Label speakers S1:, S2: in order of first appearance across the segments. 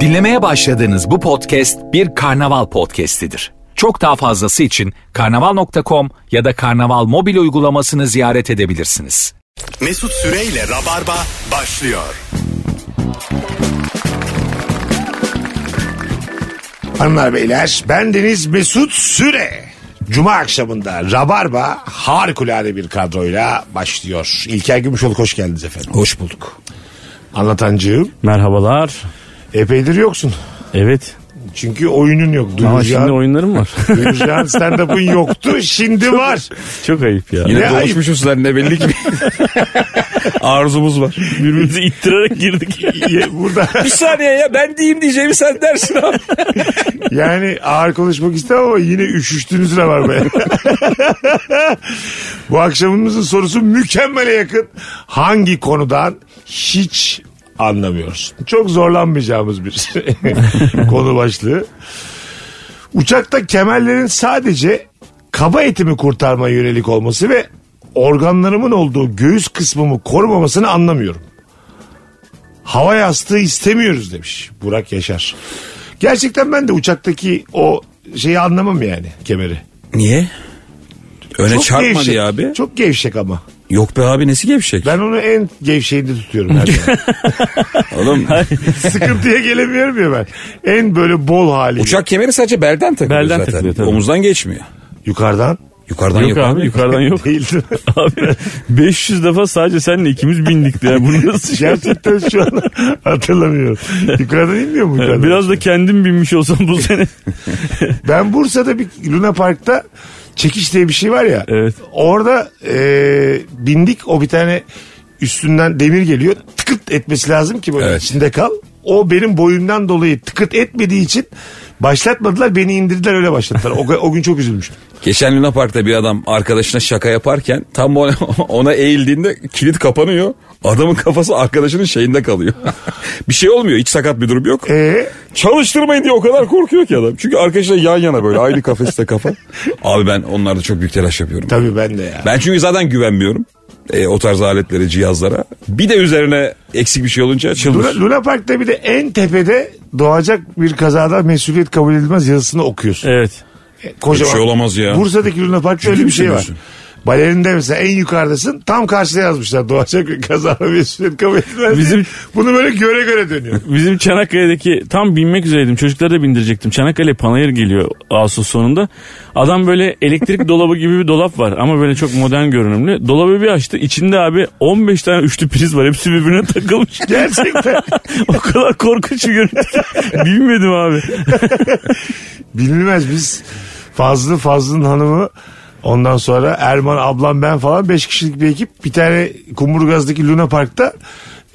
S1: Dinlemeye başladığınız bu podcast bir karnaval podcastidir. Çok daha fazlası için karnaval.com ya da karnaval mobil uygulamasını ziyaret edebilirsiniz.
S2: Mesut Süreyle Rabarba başlıyor.
S3: Hanımlar beyler ben Deniz Mesut Süre. Cuma akşamında Rabarba harikulade bir kadroyla başlıyor. İlker Gümüşoluk hoş geldiniz efendim.
S4: Hoş bulduk.
S3: Anlatancığım
S4: Merhabalar.
S3: epeydir yoksun.
S4: Evet.
S3: Çünkü oyunun yok.
S4: Ama
S3: Duyuracağın,
S4: şimdi oyunlarım var.
S3: duyuracağın stand-up'ın yoktu şimdi var.
S4: Çok ayıp ya.
S3: Ne
S5: Yine
S3: ayıp.
S5: dolaşmışız sen ne belli ki. Arzumuz var.
S4: birbirimizi ittirerek girdik.
S3: Ye- Burada
S5: Bir saniye ya ben diyeyim diyeceğimi sen dersin abi.
S3: yani ağır konuşmak istemem ama yine üşüştünüz Rabarba'ya. Bu akşamımızın sorusu mükemmele yakın. Hangi konudan hiç anlamıyoruz? Çok zorlanmayacağımız bir konu başlığı. Uçakta kemerlerin sadece kaba etimi kurtarmaya yönelik olması ve organlarımın olduğu göğüs kısmımı korumamasını anlamıyorum. Hava yastığı istemiyoruz demiş Burak Yaşar. Gerçekten ben de uçaktaki o şeyi anlamam yani kemeri.
S5: Niye? Öne
S3: Çok
S5: E, çarpmadı
S3: gevşek.
S5: ya abi.
S3: Çok gevşek ama.
S5: Yok be abi nesi gevşek?
S3: Ben onu en gevşeğinde tutuyorum. her zaman.
S5: Oğlum
S3: Sıkıntıya gelemiyorum ya ben. En böyle bol hali.
S5: uçak kemeri sadece belden takılıyor
S4: Belden
S5: zaten.
S4: takılıyor tabii.
S5: Omuzdan geçmiyor.
S3: Yukarıdan
S5: Yukarıdan
S4: Yok abi yukarıdan yok.
S3: değildi.
S4: abi 500 defa sadece senle ikimiz bindik ya. Bunu nasıl şey?
S3: Gerçekten şu an hatırlamıyorum. Yukarıdan inmiyor mu yukarıdan?
S4: Biraz da kendim binmiş olsam bu sene.
S3: Ben Bursa'da bir Luna Park'ta çekiş diye bir şey var ya.
S4: Evet.
S3: Orada e, bindik o bir tane üstünden demir geliyor. Tıkırt etmesi lazım ki böyle
S5: Evet.
S3: içinde kal. O benim boyumdan dolayı tıkırt etmediği için başlatmadılar beni indirdiler öyle başlattılar. O, o gün çok üzülmüştüm.
S5: Geçen Luna Park'ta bir adam arkadaşına şaka yaparken tam ona, ona eğildiğinde kilit kapanıyor. Adamın kafası arkadaşının şeyinde kalıyor. bir şey olmuyor. Hiç sakat bir durum yok.
S4: Ee?
S3: E,
S5: Çalıştırmayın diye o kadar korkuyor ki adam. Çünkü arkadaşlar yan yana böyle aynı kafeste kafa. Abi ben onlarda çok büyük telaş yapıyorum.
S3: tabii ben de ya.
S5: Ben çünkü zaten güvenmiyorum. E, o tarz aletlere, cihazlara. Bir de üzerine eksik bir şey olunca
S3: Luna,
S5: çıldır.
S3: Luna Park'ta bir de en tepede doğacak bir kazada mesuliyet kabul edilmez yazısını okuyorsun.
S4: evet.
S3: E, Kocaman.
S5: Bir şey olamaz ya.
S3: Bursa'daki Luna Park'ta öyle bir
S5: misin
S3: şey var.
S5: diyorsun?
S3: Balerinde mesela en yukarıdasın tam karşıya yazmışlar doğacak bir kaza ve mesuliyet kabul edilmez. Bizim...
S4: Bizim-
S3: Bunu böyle göre göre dönüyor.
S4: Bizim Çanakkale'deki tam binmek üzereydim. Çocukları da bindirecektim. Çanakkale Panayır geliyor Ağustos sonunda. Adam böyle elektrik dolabı gibi bir dolap var ama böyle çok modern görünümlü. Dolabı bir açtı. İçinde abi 15 tane üçlü priz var. Hepsi birbirine takılmış.
S3: Gerçekten
S4: o kadar korkunç bir görüntü. ki. Bilmedim abi.
S3: bilinmez biz Fazlı Fazlı'nın hanımı ondan sonra Erman ablam ben falan 5 kişilik bir ekip bir tane Kumburgaz'daki Luna Park'ta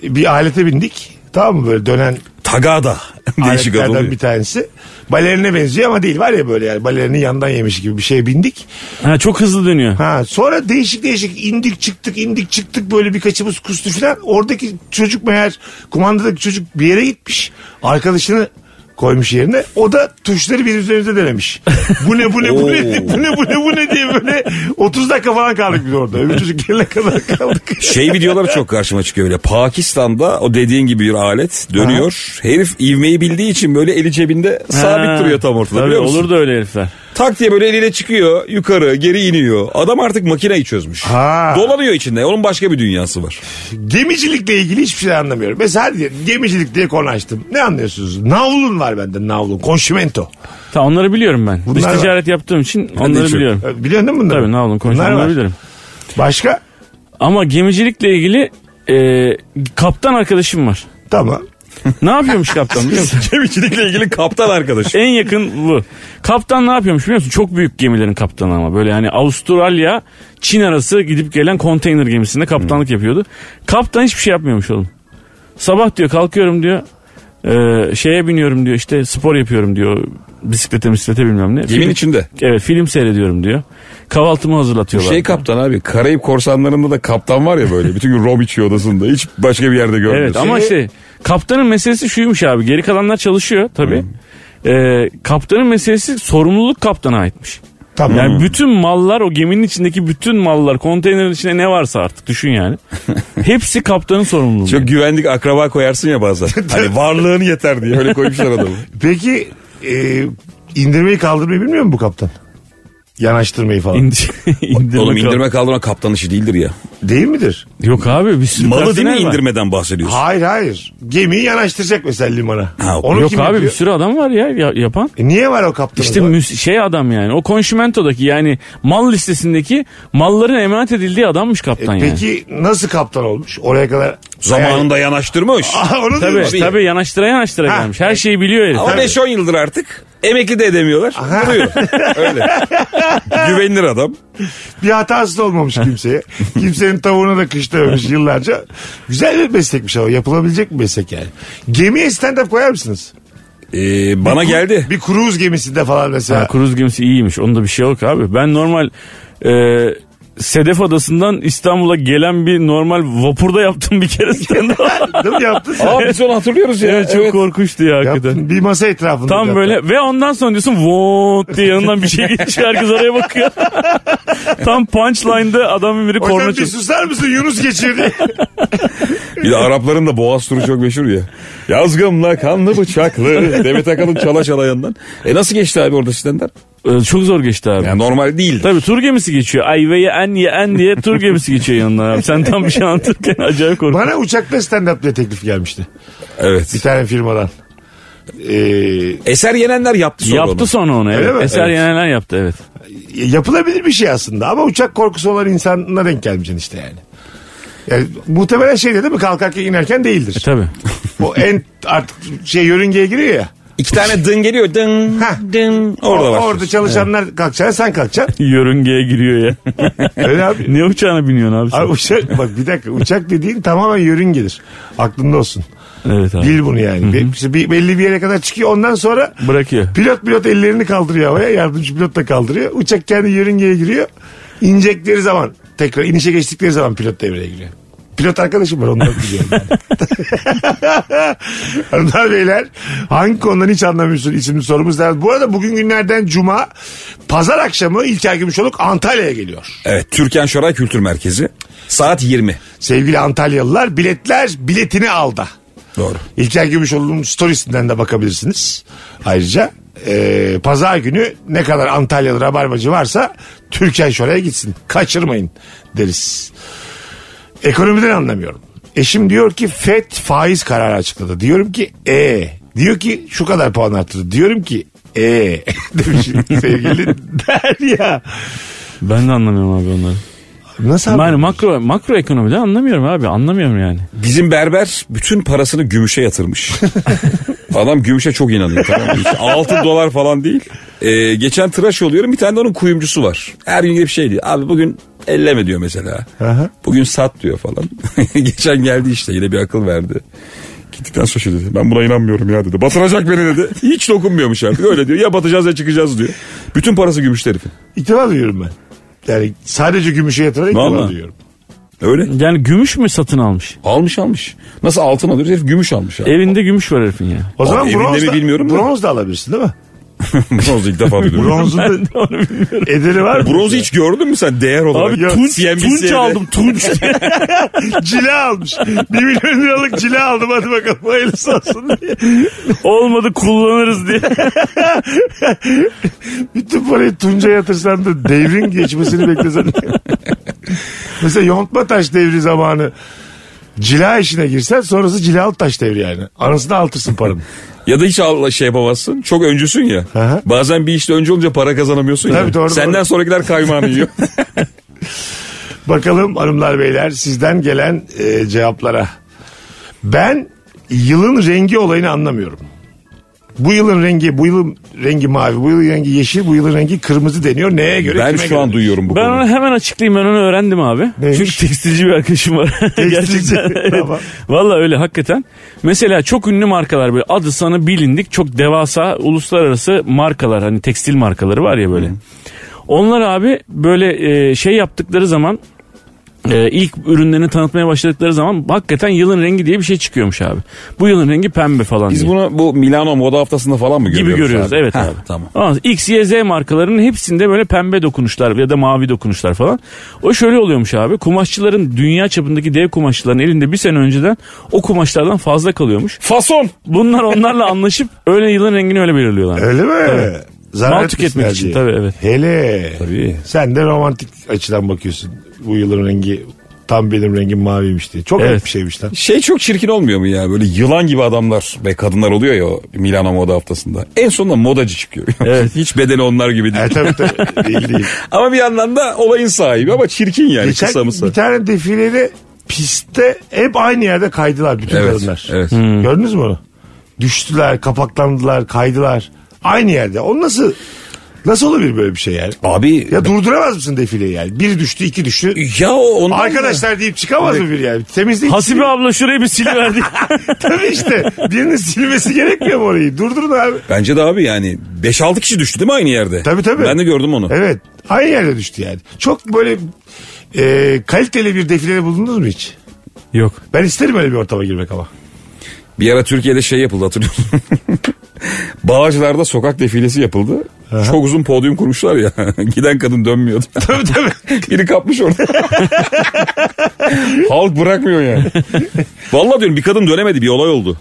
S3: bir alete bindik. Tamam mı böyle dönen
S5: Tagada. şey Değişik adı
S3: aletlerden
S5: oluyor.
S3: bir tanesi. Balerine benziyor ama değil var ya böyle yani balerini yandan yemiş gibi bir şeye bindik.
S4: Ha, çok hızlı dönüyor.
S3: Ha sonra değişik değişik indik çıktık indik çıktık böyle birkaçımız kustu filan. Oradaki çocuk meğer kumandadaki çocuk bir yere gitmiş. Arkadaşını koymuş yerine. O da tuşları bir üzerinde denemiş. Bu ne bu ne bu ne bu ne bu ne bu ne diye böyle 30 dakika falan kaldık biz orada. Öbür çocuk gelene kadar kaldık.
S5: Şey videoları çok karşıma çıkıyor öyle. Pakistan'da o dediğin gibi bir alet dönüyor. Herif ivmeyi bildiği için böyle eli cebinde
S4: Ha.
S5: sabit duruyor tam ortada
S4: Tabii,
S5: biliyor musun?
S4: Olur da öyle herifler.
S5: Tak diye böyle eliyle çıkıyor yukarı geri iniyor. Adam artık makineyi çözmüş.
S3: Ha.
S5: Dolanıyor içinde onun başka bir dünyası var.
S3: Gemicilikle ilgili hiçbir şey anlamıyorum. Mesela hadi diyelim, gemicilik diye konu açtım. Ne anlıyorsunuz? Navlun var bende navlun. Konşimento.
S4: Ta onları biliyorum ben.
S3: Bunlar
S4: Dış
S3: var.
S4: ticaret yaptığım için onları
S5: çok-
S4: biliyorum.
S3: Biliyorsun değil mi bunları?
S4: Tabii ne oğlum
S3: Bunlar var.
S4: konuşmaları bilirim.
S3: Başka?
S4: Ama gemicilikle ilgili e, kaptan arkadaşım var.
S3: Tamam.
S4: Ne yapıyormuş kaptan biliyor musun?
S5: Gemicilikle ilgili kaptan arkadaş.
S4: En yakın bu. Kaptan ne yapıyormuş biliyor musun? Çok büyük gemilerin kaptanı ama. Böyle yani Avustralya, Çin arası gidip gelen konteyner gemisinde kaptanlık
S5: Hmm.
S4: yapıyordu. Kaptan hiçbir şey yapmıyormuş oğlum. Sabah diyor kalkıyorum diyor. e, şeye biniyorum diyor işte spor yapıyorum diyor. Bisiklete bisiklete bilmem ne.
S5: Gemin
S4: Film-
S5: içinde.
S4: Evet film seyrediyorum diyor. Kahvaltımı hazırlatıyorlar.
S5: Şey kaptan abi Karayip korsanlarında da kaptan var ya böyle bütün gün rom içiyor odasında hiç başka bir yerde görmüyorsun.
S4: Evet ama işte kaptanın meselesi şuymuş abi.
S5: Hmm.
S4: E, Geri kalanlar çalışıyor tabii. Ee, kaptanın meselesi sorumluluk kaptana aitmiş.
S3: Tamam.
S5: Hmm.
S4: Yani bütün mallar o geminin içindeki bütün mallar konteynerin içinde ne varsa artık düşün yani. Hepsi kaptanın sorumluluğu.
S5: Çok güvendik akraba koyarsın ya bazen. hani varlığın yeter diye öyle koymuşlar adamı.
S3: Peki e, indirmeyi kaldırmayı bilmiyor mu bu kaptan? Yanaştırmayı falan.
S4: İndir- indirme
S5: Oğlum
S4: kal-
S5: indirme kaldırma kaptan işi değildir ya.
S3: Değil midir?
S4: Yok abi bir sürü
S5: Malı değil mi
S4: personel var.
S5: indirmeden bahsediyorsun?
S3: Hayır hayır. Gemiyi yanaştıracak mesela limana.
S5: Ha,
S3: Onu
S4: Yok
S3: kim
S4: abi
S3: yapıyor?
S4: bir sürü adam var ya ya- yapan.
S3: E, niye var o kaptanın?
S4: İşte
S3: da?
S4: müs- şey adam yani o konşimentodaki yani mal listesindeki malların emanet edildiği adammış
S3: E,
S4: kaptan yani.
S3: Peki nasıl kaptan olmuş? Oraya kadar...
S5: Zamanında yanaştırmış.
S3: Aa, onu
S4: Tabii
S3: diyorum.
S4: tabii yanaştıra yanaştıra
S3: Ha.
S4: gelmiş.
S5: e,
S4: Her şeyi biliyor herif.
S5: Ama 5-10 yıldır artık emekli de edemiyorlar. Duruyor. Öyle. Güvenilir adam.
S3: Bir hatası da olmamış kimseye. Kimsenin tavuğuna da kış dememiş yıllarca. Güzel bir meslekmiş ama yapılabilecek bir meslek yani. Gemiye stand-up koyar mısınız?
S5: Ee, bana
S3: Bir-
S5: geldi.
S3: Bir cruise gemisinde falan mesela.
S4: Ha, Kruz gemisi iyiymiş. Onda bir şey yok abi. Ben normal e, Sedef Adası'ndan İstanbul'a gelen bir normal vapurda yaptım bir kere stand-up.
S3: Değil mi? Yaptın sen.
S5: Aa biz onu hatırlıyoruz ya.
S4: Ya çok korkunçtu ya hakikaten.
S3: Yaptın. Bir masa etrafında.
S4: Tam
S3: zaten.
S4: böyle ve ondan sonra diyorsun voot diye yanından bir şey geçiyor herkes araya bakıyor. Tam punchline'da adamın biri
S3: Hocam
S4: korna
S3: bir
S4: çalıyor.
S3: susar mısın Yunus geçirdi.
S5: Bir de Arapların da boğaz turu çok meşhur ya. Yazgımla kanlı bıçaklı. Demet Akalın çala çala yandan. E nasıl geçti abi orada sizdenler?
S4: Ee, Çok zor geçti abi.
S5: Yani normal değil.
S4: Tabii tur gemisi geçiyor. Ay ve ye en ye en diye tur gemisi geçiyor yanından abi. Sen tam bir şey anlatırken acayip korkuyorum.
S3: Bana uçakta stand-up diye teklif gelmişti. Bir
S5: Evet.
S3: tane firmadan. Ee,
S5: Eser yenenler yaptı sonra
S4: Yaptı
S5: onu.
S4: sonra onu
S3: Öyle
S4: evet.
S3: mi?
S4: Eser
S5: Evet.
S4: Yeneler yaptı evet.
S3: yapılabilir bir şey aslında ama uçak korkusu olan insanına denk gelmeyeceksin işte yani. Yani muhtemelen şey değil mi kalkarken inerken değildir.
S4: E tabii.
S3: Bu en artık şey yörüngeye giriyor ya.
S5: İki tane dın geliyor dın
S3: Hah.
S5: dın. Orada
S3: O-
S5: var.
S3: Orada çalışanlar kalkacaksın sen kalkacaksın.
S4: Yörüngeye giriyor ya.
S3: Öyle abi.
S4: Niye uçağına biniyorsun abi sen?
S3: Abi uçak bak bir dakika uçak dediğin tamamen yörüngedir. Aklında olsun.
S4: evet abi.
S3: Bil bunu yani. Be- işte bir, belli bir yere kadar çıkıyor ondan sonra
S4: Bırakıyor.
S3: pilot pilot ellerini kaldırıyor havaya yardımcı pilot da kaldırıyor. Uçak kendi yörüngeye giriyor. İnecekleri zaman tekrar inişe geçtikleri zaman pilot devreye giriyor. Pilot arkadaşım var ondan biliyorum. Hanımlar beyler hangi konudan hiç anlamıyorsun isimli sorumuz da. Bu arada bugün günlerden cuma pazar akşamı İlker Gümüşoluk Antalya'ya geliyor.
S5: Evet Türkan Şoray Kültür Merkezi. Saat 20.
S3: Sevgili Antalyalılar biletler biletini aldı.
S5: Doğru.
S3: İlker Gümüşoğlu'nun storiesinden de bakabilirsiniz. Ayrıca e, pazar günü ne kadar Antalyalı rabarbacı varsa Türkan Şoray'a gitsin. Kaçırmayın deriz. Ekonomiden anlamıyorum. Eşim diyor ki FED faiz kararı açıkladı. Diyorum ki e Diyor ki şu kadar puan arttırdı. Diyorum ki e demiş sevgili Derya.
S4: Ben de anlamıyorum abi onları.
S3: Nasıl
S4: Ben
S3: anladın?
S4: makro, makro ekonomiden anlamıyorum abi. Anlamıyorum yani.
S5: Bizim berber bütün parasını gümüşe yatırmış. Adam gümüşe çok inanıyor tamam mı? 6 dolar falan değil. Ee, geçen tıraş oluyorum bir tane de onun kuyumcusu var. Her gün gelip şey diyor. Abi bugün elleme diyor mesela.
S3: Aha.
S5: Bugün sat diyor falan. geçen geldi işte yine bir akıl verdi. Gittikten sonra şey dedi. Ben buna inanmıyorum ya dedi. Batıracak beni dedi. Hiç dokunmuyormuş artık. Öyle diyor. Ya batacağız ya çıkacağız diyor. Bütün parası gümüş herifin.
S3: İtibar duyuyorum ben. Yani sadece gümüşe yatırarak itibar
S5: Vallahi.
S3: duyuyorum.
S5: Öyle.
S4: Yani gümüş mü satın almış?
S5: Almış almış. Nasıl altın alıyoruz? Herif gümüş almış. Abi.
S4: Evinde gümüş var herifin ya.
S3: O zaman
S5: evinde
S3: bronz
S5: mi
S3: da,
S5: bilmiyorum da.
S3: bronz da alabilirsin değil mi?
S5: Bronzu ilk defa duydum.
S3: Bronzun da ederi var mı?
S5: Bronzu hiç gördün mü sen değer olarak?
S4: Abi
S3: Yok.
S4: tunç,
S5: CNBC'de.
S4: tunç aldım tunç. diye.
S3: cila almış. Bir milyon liralık cila aldım hadi bakalım hayırlısı olsun diye.
S4: Olmadı kullanırız diye.
S3: Bütün parayı Tunca yatırsan da devrin geçmesini beklesen. Mesela yontma taş devri zamanı cila işine girsen sonrası cilalı taş devri yani. Anasını altırsın paranı.
S5: Ya da hiç al- şey yapamazsın. Çok öncüsün ya.
S3: Aha.
S5: Bazen bir işte önce olunca para kazanamıyorsun
S3: Tabii
S5: ya.
S3: doğru,
S5: Senden
S3: doğru.
S5: sonrakiler kaymağını yiyor.
S3: Bakalım hanımlar beyler sizden gelen e, cevaplara. Ben yılın rengi olayını anlamıyorum. Bu yılın rengi, bu yılın rengi mavi, bu yılın rengi yeşil, bu yılın rengi kırmızı deniyor. Neye göre?
S5: ben
S3: kime
S5: şu an
S3: göre?
S5: duyuyorum bu
S4: Ben
S5: konuyu.
S4: onu hemen açıklayayım ben onu öğrendim abi.
S3: Neymiş?
S4: Çünkü tekstilci bir arkadaşım var.
S3: Tekstilci,
S4: Gerçekten. evet.
S3: tamam.
S4: Valla öyle hakikaten. Mesela çok ünlü markalar böyle adı sana bilindik çok devasa uluslararası markalar hani tekstil markaları var ya böyle. Onlar abi böyle e, şey yaptıkları zaman e, ilk ürünlerini tanıtmaya başladıkları zaman hakikaten yılın rengi diye bir şey çıkıyormuş abi. Bu yılın rengi pembe falan
S5: Biz
S4: diye.
S5: bunu bu Milano moda haftasında falan mı görüyoruz?
S4: gibi görüyoruz.
S5: abi?
S4: Evet
S5: Ha,
S4: abi.
S5: Tamam.
S4: Ama X, Y, Z markalarının hepsinde böyle pembe dokunuşlar ya da mavi dokunuşlar falan. O şöyle oluyormuş abi. Kumaşçıların dünya çapındaki dev kumaşçıların elinde bir sene önceden o kumaşlardan fazla kalıyormuş.
S5: Fason.
S4: Bunlar onlarla anlaşıp öyle yılın rengini öyle belirliyorlar.
S3: Öyle mi? Zarar
S4: Mal tüketmek
S3: etmesinler
S4: için
S3: diye.
S4: tabii, evet.
S3: Hele.
S5: Tabii.
S3: Sen de romantik açıdan bakıyorsun. Bu yılın rengi tam benim rengim maviymiş diye. Çok
S4: Evet.
S3: net bir şeymiş lan.
S5: Şey çok çirkin olmuyor mu ya? Böyle yılan gibi adamlar ve kadınlar oluyor ya o Milano moda haftasında. En sonunda modacı çıkıyor.
S4: Evet.
S5: Hiç bedeni onlar gibi değil.
S3: E, tabii tabii. Değil, değil.
S5: Ama bir yandan da olayın sahibi ama çirkin yani
S3: Geçen
S5: kısa mısa.
S3: bir tane defilede pistte hep aynı yerde kaydılar bütün
S5: Evet,
S3: kadınlar.
S5: evet.
S4: Hmm.
S3: Gördünüz mü onu? Düştüler, kapaklandılar, kaydılar. Aynı yerde. O nasıl Nasıl olabilir böyle bir şey yani?
S5: Abi
S3: Ya durduramaz mısın defileyi yani? Biri düştü, iki düştü.
S5: ya o ondan
S3: Arkadaşlar deyip çıkamaz mı bir yani? Temizleyin.
S4: Hasibe abla şurayı bir siliverdik.
S3: Tabii işte. Birinin silmesi gerekmiyor mu orayı? Durdurun abi.
S5: Bence de abi yani 5-6 kişi düştü değil mi aynı yerde?
S3: Tabii tabii.
S5: Ben de gördüm onu.
S3: Evet. Aynı yerde düştü yani. Çok böyle e, kaliteli bir defilede bulundunuz mu hiç?
S4: Yok.
S3: Ben isterim öyle bir ortama girmek ama.
S5: Bir ara Türkiye'de şey yapıldı hatırlıyor musun? Bağcılar'da sokak defilesi yapıldı. Çok uzun podyum kurmuşlar ya. Giden kadın dönmüyordu.
S3: Tabii tabii.
S5: Biri kapmış orada. Halk bırakmıyor yani. Vallahi diyorum bir kadın dönemedi bir olay oldu.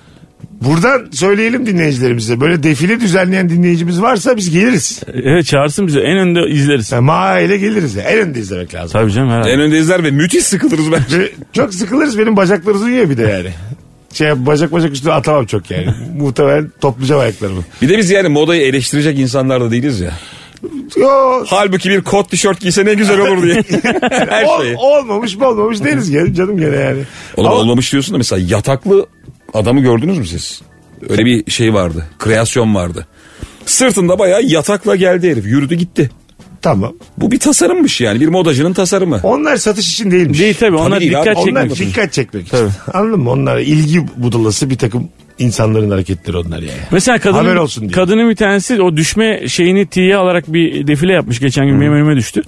S3: Buradan söyleyelim dinleyicilerimize. Böyle defile düzenleyen dinleyicimiz varsa biz geliriz.
S4: Evet çağırsın bizi. En önde izleriz.
S3: Yani maaile geliriz. Yani. En önde izlemek lazım.
S4: Tabii canım herhalde.
S5: En önde izler ve müthiş sıkılırız bence.
S3: Ve Çok sıkılırız benim bacaklarım uyuyor bir de yani. Şey bacak bacak üstüne atamam çok yani. Muhtemelen toplayacağım ayaklarımı.
S5: Bir de biz yani modayı eleştirecek insanlar da değiliz ya.
S3: Yo,
S5: Halbuki bir kot tişört giyse ne güzel olur diye. Her
S3: ol-
S5: şeyi.
S3: olmamış mı olmamış deriz gene- canım gene yani.
S5: Oğlum
S3: Ama-
S5: olmamış diyorsun da mesela yataklı adamı gördünüz mü siz? Öyle bir şey vardı. Kreasyon vardı. Sırtında bayağı yatakla geldi herif. Yürüdü gitti.
S3: Tamam.
S5: Bu bir tasarımmış yani. Bir modacının tasarımı.
S3: Onlar satış için değilmiş.
S4: Değil tabii. Onlar
S5: değil abi.
S4: dikkat
S3: Onlar
S4: çekmek için.
S3: dikkat çekmek için. Anladın mı? Onlar ilgi budalası bir takım insanların hareketleri onlar yani.
S4: Mesela
S3: Haber
S4: kadının,
S3: olsun diye.
S4: kadının bir tanesi o düşme şeyini tiye alarak bir defile yapmış. Geçen gün benim önüme düştü.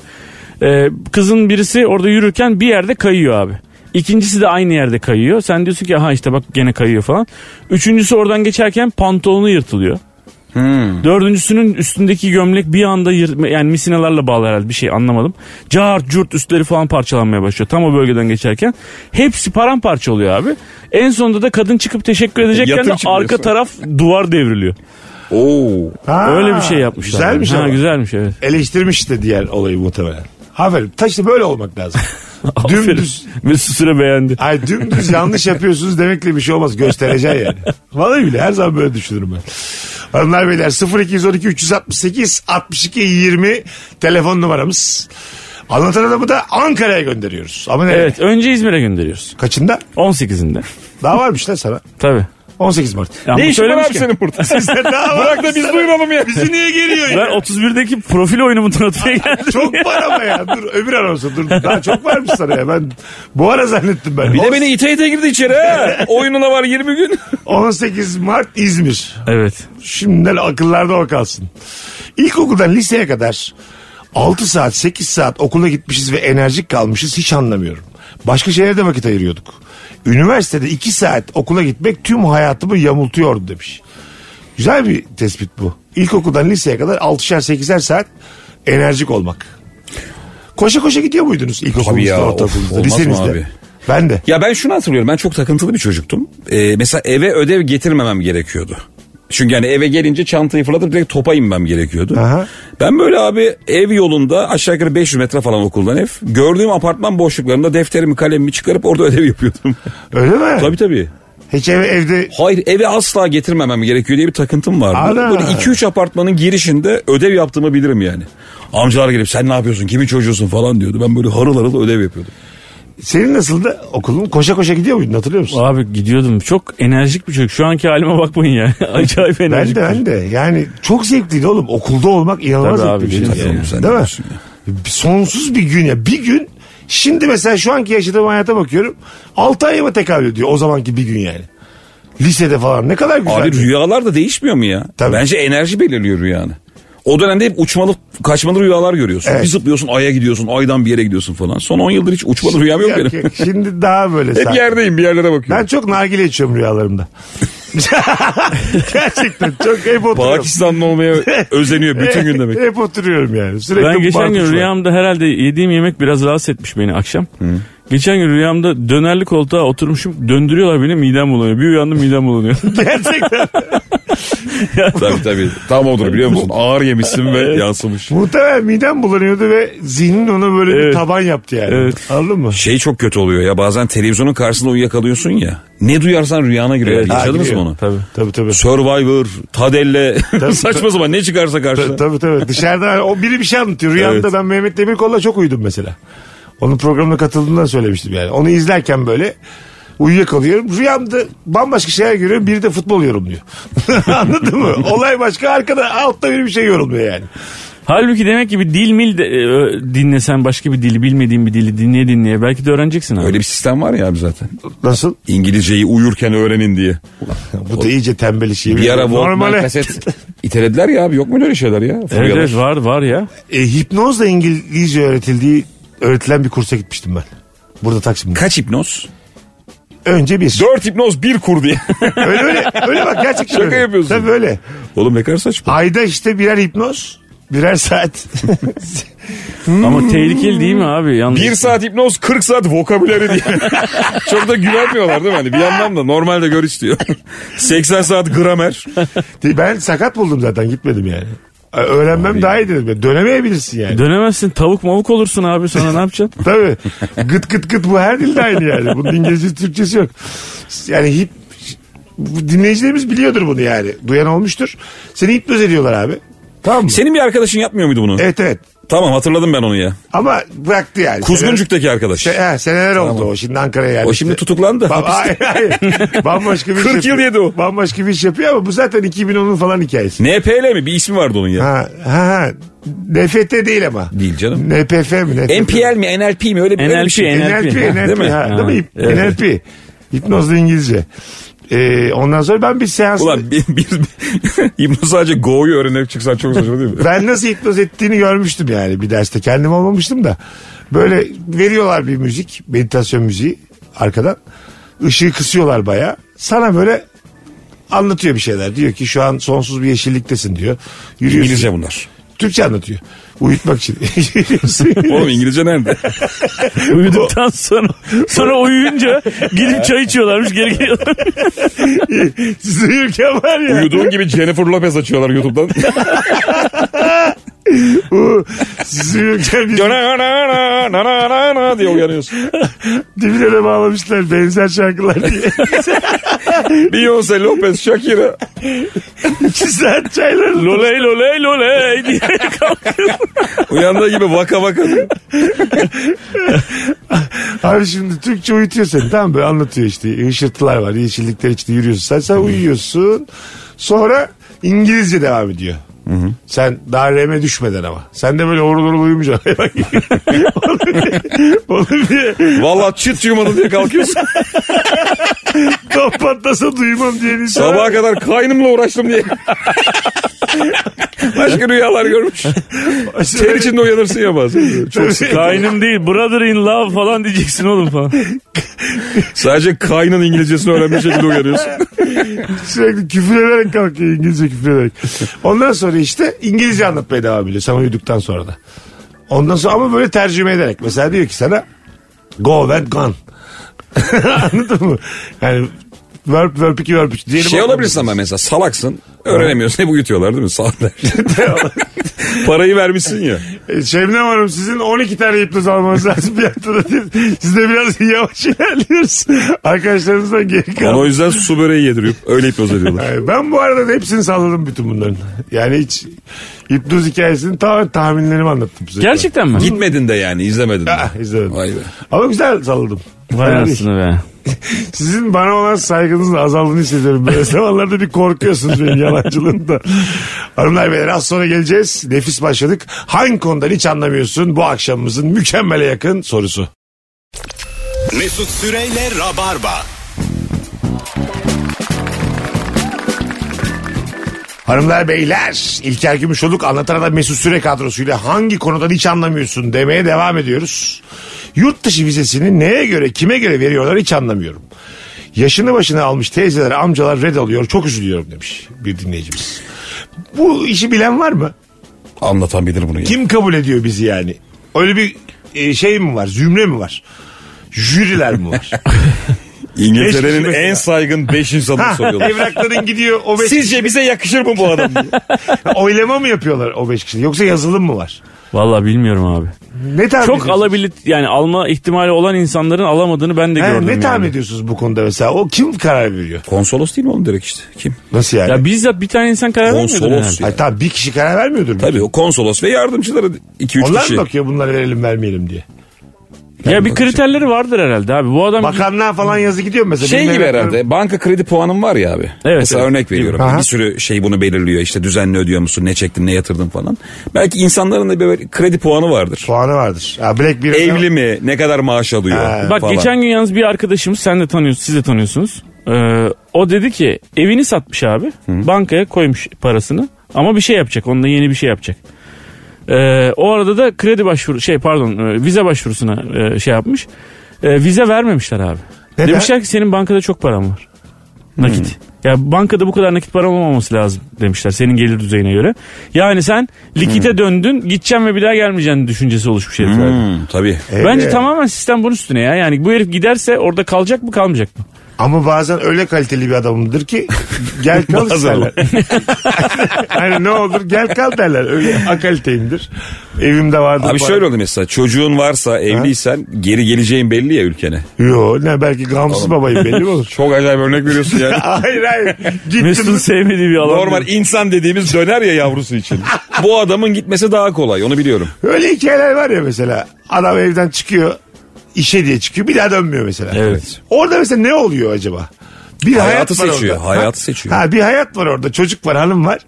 S4: Ee, kızın birisi orada yürürken bir yerde kayıyor abi. İkincisi de aynı yerde kayıyor. Sen diyorsun ki aha işte bak gene kayıyor falan. Üçüncüsü oradan geçerken pantolonu yırtılıyor. Dördüncüsünün üstündeki gömlek bir anda yır, yani misinalarla bağlı herhalde bir şey anlamadım. Cart curt üstleri falan parçalanmaya başlıyor tam o bölgeden geçerken. Hepsi paramparça oluyor abi. En sonunda da kadın çıkıp teşekkür edecekken
S5: Yatır
S4: de
S5: çıkıyor
S4: arka
S5: sonra.
S4: taraf duvar devriliyor.
S5: Oo.
S3: Ha,
S4: Öyle bir şey yapmışlar.
S3: Güzelmiş
S4: ha,
S3: ama.
S4: Güzelmiş evet.
S3: Eleştirmiş de diğer olayı muhtemelen. Aferin. Ta işte böyle olmak lazım. dümdüz,
S4: Aferin. Mesut Süre beğendi.
S3: ay dümdüz yanlış yapıyorsunuz demekle bir şey olmaz. Göstereceksin yani. Vallahi bile her zaman böyle düşünürüm ben. Hanımlar beyler 0212 368 62 20 telefon numaramız. Anlatan adamı da Ankara'ya gönderiyoruz. Ama nereye?
S4: Evet önce İzmir'e gönderiyoruz.
S3: Kaçında?
S4: 18'inde.
S3: Daha varmış lan sana.
S4: Tabii.
S3: 18 Mart.
S4: Ya bu
S5: Ne işin şey var
S4: söylemiş
S5: abi
S4: ki-
S5: senin burada?
S3: Bizde daha
S5: Bırak da
S3: varmış
S5: biz
S3: sana.
S5: duyuralım ya.
S3: Bizi niye geliyor ya?
S4: Ben 31'deki profil oyunumu tanıtmaya geldim.
S3: Çok var ama ya. Dur öbür anonsu dur. Daha çok varmış sana ya. Ben bu ara zannettim ben.
S5: Bir de beni ite ite girdi içeri ha. Oyununa var 20 gün.
S3: 18 Mart İzmir.
S4: Evet.
S3: Şimdiden akıllarda o kalsın. İlkokuldan liseye kadar 6 saat 8 saat okula gitmişiz ve enerjik kalmışız hiç anlamıyorum. Başka şeylere de vakit ayırıyorduk. Üniversitede 2 saat okula gitmek tüm hayatımı yamultuyordu demiş. Güzel bir tespit bu. İlkokuldan liseye kadar 6'şer 8'er saat enerjik olmak. Koşa koşa gidiyor muydunuz
S5: Tabii
S3: ilkokulunuzda,
S5: ya, of,
S3: ortaokulunuzda,
S5: olmaz mı
S3: lisenizde?
S5: abi?
S3: Ben de.
S5: Ya ben şunu hatırlıyorum. Ben çok takıntılı bir çocuktum. Ee, mesela eve ödev getirmemem gerekiyordu. Çünkü yani eve gelince çantayı fırlatıp direkt topa inmem gerekiyordu.
S3: Aha.
S5: Ben böyle abi ev yolunda aşağı yukarı 500 metre falan okuldan ev. Gördüğüm apartman boşluklarında defterimi kalemimi çıkarıp orada ödev yapıyordum.
S3: Öyle mi?
S5: tabii tabii.
S3: Hiç eve, evde
S5: Hayır eve asla getirmemem gerekiyor diye bir takıntım vardı.
S3: Ana.
S5: Böyle 2-3 apartmanın girişinde ödev yaptığımı bilirim yani. Amcalar gelip sen ne yapıyorsun kimin çocuğusun falan diyordu. Ben böyle harıl harıl ödev yapıyordum.
S3: Senin nasıldı okulun? Koşa koşa gidiyor muydun hatırlıyor musun?
S4: Abi gidiyordum. Çok enerjik bir çocuk. Şu anki halime bakmayın ya. Acayip
S3: Ben
S4: enerjik.
S3: de ben de. Yani çok zevkliydi oğlum. Okulda olmak inanılmaz
S4: Tabii
S3: zevkli bir şey.
S4: abi,
S5: Tabii
S3: yani.
S5: oğlum, sen
S3: Değil
S5: ne
S3: mi?
S5: diyorsun ya?
S3: Bir- Sonsuz bir gün ya. Bir gün şimdi mesela şu anki yaşadığım hayata bakıyorum. 6 ayıma tekabül ediyor o zamanki bir gün yani. Lisede falan ne kadar güzel. şey.
S5: Abi rüyalar da değişmiyor mu ya?
S3: Tabii.
S5: Bence enerji belirliyor rüyanı. O dönemde hep uçmalı, kaçmalı rüyalar görüyorsun.
S3: Evet.
S5: Bir zıplıyorsun aya gidiyorsun, aydan bir yere gidiyorsun falan. Son 10 yıldır hiç uçmalı rüyam yok
S3: Yok,
S5: benim.
S3: yok. Şimdi daha böyle
S5: Hep
S3: sakin.
S5: yerdeyim bir yerlere bakıyorum.
S3: Ben çok nargile içiyorum rüyalarımda. Gerçekten çok hep oturuyorum.
S5: Pakistanlı olmaya özeniyor bütün gün demek.
S3: Hep oturuyorum yani. Sürekli
S4: Ben geçen gün
S3: bartuş var.
S4: rüyamda herhalde yediğim yemek biraz rahatsız etmiş beni akşam. Geçen gün rüyamda dönerli koltuğa oturmuşum döndürüyorlar beni midem bulanıyor. Bir uyandım midem bulanıyor.
S3: Gerçekten.
S5: tabii tabii. Tam odur biliyor musun? Ağır yemişsin ve yansımış.
S3: Muhtemelen midem bulanıyordu ve zihnin ona böyle bir
S4: Evet.
S3: taban yaptı yani.
S4: Evet.
S3: Anladın mı?
S5: Şey çok kötü oluyor ya bazen televizyonun karşısında uyuyakalıyorsun ya. Ne duyarsan rüyana giriyor.
S4: Evet,
S5: Yaşadınız mı
S3: giriyor.
S5: onu?
S4: Tabii.
S3: Tabii tabii.
S5: Survivor, Tadelle, saçma sapan ne çıkarsa karşına.
S3: Tabii tabii. Dışarıda o biri bir şey anlatıyor. Rüyamda
S5: Evet.
S3: ben Mehmet Demirkol'la çok uyudum mesela. Onun programına katıldığında söylemiştim yani. Onu izlerken böyle uyuyakalıyorum. Rüyamda bambaşka şeyler görüyorum. Biri de futbol yorumluyor. Anladın mı? Olay başka. Arkada altta biri bir şey yorumluyor yani.
S4: Halbuki demek ki bir dil mil de, e, ö, dinlesen başka bir dili bilmediğin bir dili dinleye dinleye belki de öğreneceksin abi.
S5: Öyle bir sistem var ya abi zaten.
S3: Nasıl?
S5: İngilizceyi uyurken öğrenin diye.
S3: Bu da iyice tembel iş. yemin
S5: Bir ara
S3: ediyorum.
S5: Walkman
S3: Normale-
S5: kaset itelediler ya abi yok mu öyle şeyler ya?
S4: Evet,
S5: Furyalar.
S4: evet, var var ya.
S3: E, hipnozla İngilizce öğretildiği öğretilen bir kursa gitmiştim ben. Burada Taksim'de.
S5: Kaç hipnoz?
S3: Önce bir.
S5: Dört hipnoz bir kur diye.
S3: öyle öyle. Öyle bak gerçekten
S5: Şaka
S3: öyle.
S5: yapıyorsun.
S3: Tabii öyle.
S5: Oğlum ne kadar saçma.
S3: Ayda işte birer hipnoz. Birer saat.
S4: Ama tehlikeli değil mi abi? Yalnız
S5: Bir saat hipnoz 40 saat vokabüleri diye. Çok da güvenmiyorlar değil mi? Hani bir yandan da normalde gör istiyor. 80 saat gramer.
S3: ben sakat buldum zaten gitmedim yani. Ö- Öğrenmem daha iyi dedim. Dönemeyebilirsin yani.
S4: Dönemezsin tavuk mavuk olursun abi sana ne yapacaksın?
S3: Tabii. Gıt gıt gıt bu her dilde aynı yani. Bunun İngilizce Türkçesi yok. Yani hip bu dinleyicilerimiz biliyordur bunu yani. Duyan olmuştur. Seni hipnoz ediyorlar abi. Tamam mı?
S5: Senin bir arkadaşın yapmıyor muydu bunu?
S3: Evet evet.
S5: Tamam hatırladım ben onu ya.
S3: Ama bıraktı yani.
S5: Kuzguncuk'taki arkadaş.
S3: Se- Şey, he, seneler oldu o. Şimdi Ankara'ya geldi.
S5: O şimdi tutuklandı.
S3: Ba-
S5: hapiste.
S3: hayır, hayır. Bambaşka bir iş
S5: 40 yıl
S3: yapıyor.
S5: yedi o.
S3: Bambaşka bir iş yapıyor ama bu zaten 2010'un falan hikayesi.
S5: NPL mi? Bir ismi vardı onun ya.
S3: Ha, ha, ha. NFT değil ama.
S5: Değil canım.
S3: NPF mi? NPF.
S5: NPL mi? NLP mi? Öyle bir, öyle bir şey.
S4: NLP.
S3: NLP. NLP.
S5: Değil mi?
S3: Ha, değil mi?
S4: Evet.
S3: NLP. Hipnozlu İngilizce. Ee, ondan sonra ben bir seans...
S5: Ulan bir, bir, hipnoz sadece Go'yu öğrenerek çıksan çok saçma değil mi?
S3: Ben nasıl hipnoz ettiğini görmüştüm yani bir derste. Kendim olmamıştım da. Böyle veriyorlar bir müzik, meditasyon müziği arkadan. Işığı kısıyorlar baya. Sana böyle anlatıyor bir şeyler. Diyor ki şu an sonsuz bir yeşilliktesin diyor. Yürüyorsun.
S5: İngilizce bunlar.
S3: Türkçe anlatıyor. Uyutmak için.
S5: Oğlum İngilizce nerede?
S4: Uyuduktan sonra sonra uyuyunca gidip çay içiyorlarmış geri geliyorlar.
S3: Siz uyurken var ya.
S5: Uyuduğun gibi Jennifer Lopez açıyorlar YouTube'dan.
S3: Siz uyurken biz
S5: Na na na na na na na na diye uyanıyorsun.
S3: dibine de bağlamışlar benzer şarkılar diye.
S5: Beyoncé, Lopez, Shakira.
S3: İki saat çaylarını
S4: Loley loley loley diye.
S5: Uyandığı gibi vaka vaka.
S3: Abi şimdi Türkçe uyutuyor seni tamam mı? böyle anlatıyor işte ışırtılar var yeşillikler içinde yürüyorsun sen sen uyuyorsun sonra İngilizce devam ediyor. Sen daha reme düşmeden ama. Sen de böyle horul horul uyumayacaksın. Hayvan gibi. Onu bir- onu bir
S5: Valla çıt yumadı diye kalkıyorsun.
S3: top patlasa duymam diyen insan.
S5: Sabaha kadar kaynımla uğraştım diye. Başka rüyalar görmüş. Ter içinde uyanırsın ya bazen. Çok sık.
S4: Kaynım değil brother in love falan diyeceksin oğlum falan.
S5: Sadece kaynın İngilizcesini öğrenmiş şekilde uyanıyorsun.
S3: Sürekli küfür ederek kalkıyor İngilizce küfür ederek. Ondan sonra işte İngilizce anlatmaya devam ediyor sana uyuduktan sonra da. Ondan sonra ama böyle tercüme ederek. Mesela diyor ki sana go and gone. Anladın mı? Yani verb, verb 2, verb 3.
S5: Şey olabilirsin ama mesela salaksın. Öğrenemiyorsun. Hep uyutuyorlar değil mi? Saatler. Parayı vermişsin ya.
S3: E, Şebnem Hanım sizin 12 tane hipnoz almanız lazım bir haftada değil. Siz de biraz yavaş ilerliyoruz. Arkadaşlarınızdan geri
S5: Ona
S3: kalın.
S5: o yüzden su böreği yediriyor. Öyle hipnoz ediyorlar.
S3: Yani Ben bu arada hepsini salladım bütün bunların. Yani hiç hipnoz hikayesini tamamen tahminlerimi anlattım size.
S4: Gerçekten mi?
S5: Gitmedin de yani izlemedin de.
S3: Ah, izlemedim.
S5: Vay be.
S3: Ama güzel salladım.
S4: Vay
S3: Yani
S4: anasını be.
S3: Sizin bana olan saygınızın azaldığını hissediyorum. Böyle zamanlarda bir korkuyorsunuz benim yalancılığımda. Hanımlar beyler az sonra geleceğiz. Nefis başladık. Hangi konudan hiç anlamıyorsun bu akşamımızın mükemmele yakın sorusu.
S2: Mesut Süreyle Rabarba.
S3: Hanımlar beyler İlker Gümüşoluk anlatan adam Mesut Süre kadrosuyla hangi konudan hiç anlamıyorsun demeye devam ediyoruz. Yurt dışı vizesini neye göre kime göre veriyorlar hiç anlamıyorum. Yaşını başına almış teyzeler amcalar red alıyor çok üzülüyorum demiş bir dinleyicimiz. Bu işi bilen var mı?
S5: Anlatan bilir bunu ya.
S3: Kim kabul ediyor bizi yani? Öyle bir e, şey mi var zümre mi var? Jüriler mi var? Beş
S5: İngiltere'nin
S3: kişi mesela.
S5: en saygın 5 insanını
S3: Ha,
S5: soruyorlar.
S3: evrakların gidiyor o beş
S5: Sizce bize yakışır mı bu adam? diye.
S3: Oylama mı yapıyorlar o beş kişi? Yoksa yazılım mı var?
S4: Vallahi bilmiyorum abi.
S3: Ne tahmin
S4: Çok
S3: ediyorsunuz?
S4: alabilir yani alma ihtimali olan insanların alamadığını ben de
S3: Ha,
S4: gördüm.
S3: ne
S4: yani.
S3: tahmin ediyorsunuz bu konuda mesela? O kim karar veriyor?
S5: Konsolos değil mi oğlum direkt işte? Kim?
S3: Nasıl yani?
S4: Ya bizzat bir tane insan karar vermiyordur
S5: Konsolos.
S4: herhalde.
S5: ya.
S3: Ay, tamam bir kişi karar vermiyordur.
S5: Tabii o konsolos ve yardımcıları 2-3
S3: Onlar mı
S5: kişi.
S3: bakıyor bunları verelim vermeyelim diye?
S4: Ya bir kriterleri vardır herhalde abi. Bu adam
S3: Bakanlığa falan yazı gidiyor mu mesela.
S5: Şey
S3: Benim
S5: gibi
S3: evraklarım-
S5: herhalde banka kredi puanım var ya abi.
S4: Evet,
S5: Mesela
S4: evet.
S5: örnek veriyorum.
S3: Aha.
S5: Bir sürü şey bunu belirliyor işte düzenli ödüyor musun ne çektin ne yatırdın falan. Belki insanların da böyle kredi puanı vardır.
S3: Puanı vardır. Ha, Black bir
S5: Evli mi ne kadar maaş alıyor
S3: Ha.
S4: Bak
S5: falan.
S4: geçen gün yalnız bir arkadaşımız sen de tanıyorsun siz de tanıyorsunuz. Ee, o dedi ki evini satmış abi. Bankaya koymuş parasını. Ama bir şey yapacak. Onunla yeni bir şey yapacak. Ee, o arada da kredi başvuru şey pardon e, vize başvurusuna e, şey yapmış. E, vize vermemişler abi.
S3: Neden?
S4: Demişler ki senin bankada çok paran var. Nakit. Ya bankada bu kadar nakit paran olmaması lazım demişler senin gelir düzeyine göre. Yani sen likite döndün gideceğim ve bir daha gelmeyeceğin düşüncesi oluşmuş heriflerde.
S5: Hmm, tabii.
S3: E,
S4: Bence tamamen sistem bunun üstüne ya. Yani bu herif giderse orada kalacak mı kalmayacak mı?
S3: Ama bazen öyle kaliteli bir adamımdır ki gel kal
S5: Bazen.
S3: isterler. hani ne olur gel kal derler. Öyle akaliteyimdir. Evimde vardır.
S5: Abi
S3: bana.
S5: şöyle oldu mesela çocuğun varsa evliysen geri geleceğin belli ya ülkene.
S3: Yo ne belki gamsız babayım belli mi olur?
S5: Çok acayip örnek veriyorsun yani.
S3: hayır hayır.
S4: Mesut'un
S3: Gittim.
S4: sevmediği bir alan.
S5: Normal insan dediğimiz döner ya yavrusu için. Bu adamın gitmesi daha kolay onu biliyorum.
S3: Öyle hikayeler var ya mesela. Adam evden çıkıyor. işe diye çıkıyor. Bir daha dönmüyor mesela.
S5: Evet.
S3: Orada mesela ne oluyor acaba? Bir
S5: Hayatı
S3: hayat var
S5: seçiyor,
S3: orada.
S5: hayatı
S3: Ha-
S5: seçiyor.
S3: Ha, bir hayat var orada. Çocuk var, hanım var.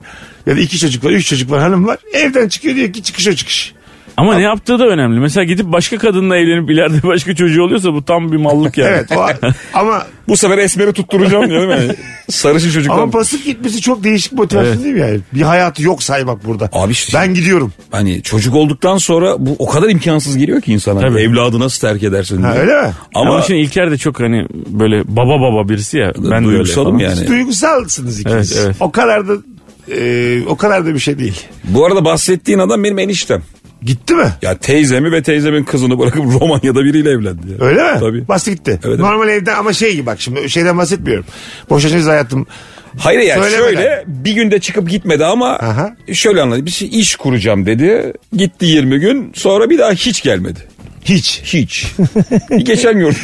S3: Ya da iki çocuk var, üç çocuk var, hanım var. Evden çıkıyor diyor ki çıkış o çıkış.
S4: Ama ne yaptığı da önemli. Mesela gidip başka kadınla evlenip ileride başka çocuğu oluyorsa bu tam bir mallık yani.
S3: Evet. O, ama
S5: Bu sefer esmeri tutturacağım diyor değil mi? Sarışın çocuklar.
S3: ama pasif gitmesi çok değişik motivasyon değil mi yani? Bir hayatı yok saymak burada.
S5: Abi işte-
S3: ben gidiyorum.
S5: Hani çocuk olduktan sonra bu o kadar imkansız geliyor ki insana.
S4: Tabii.
S5: Evladı nasıl terk edersin diye.
S3: Ha, öyle mi?
S5: Ama,
S4: Ama, şimdi İlker de çok hani böyle baba baba birisi ya. Ben de öyle
S5: duygusalım
S4: falan.
S5: yani.
S3: Siz duygusalsınız ikiniz.
S4: Evet, evet.
S3: O kadar da e, o kadar da bir şey değil.
S5: Bu arada bahsettiğin adam benim eniştem.
S3: Gitti mi?
S5: Ya teyzemi ve teyzemin kızını bırakıp Romanya'da biriyle evlendi. ya.
S3: Öyle mi?
S5: Tabii.
S3: Bastı gitti.
S5: Evet,
S3: Normal evde ama şey gibi bak şimdi şeyden bahsetmiyorum. Boşanacağız hayatım.
S5: Hayır yani
S3: Söylemeden.
S5: şöyle bir günde çıkıp gitmedi ama
S3: Aha.
S5: şöyle anladım. Bir şey, iş kuracağım dedi. Gitti 20 gün sonra bir daha hiç gelmedi.
S3: Hiç.
S5: Hiç. Geçen gördüm.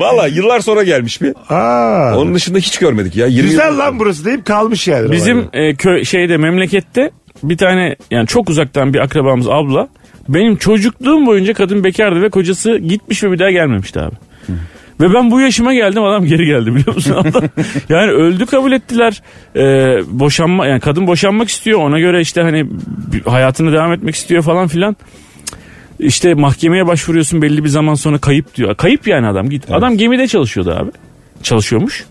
S5: Valla yıllar sonra gelmiş bir.
S3: Aa,
S5: Onun dışında hiç görmedik ya. 20
S3: güzel lan burası deyip kalmış yani.
S4: Bizim e, köy şeyde memlekette bir tane yani çok uzaktan bir akrabamız abla. Benim çocukluğum boyunca kadın bekardı ve kocası gitmiş ve bir daha gelmemişti abi. Ve ben bu yaşıma geldim adam geri geldi biliyor musun? Adam- yani öldü kabul ettiler. E, boşanma yani kadın boşanmak istiyor ona göre işte hani bir- hayatına devam etmek istiyor falan filan. İşte mahkemeye başvuruyorsun belli bir zaman sonra kayıp diyor. Kayıp yani adam git. Adam gemide çalışıyordu abi. Çalışıyormuş.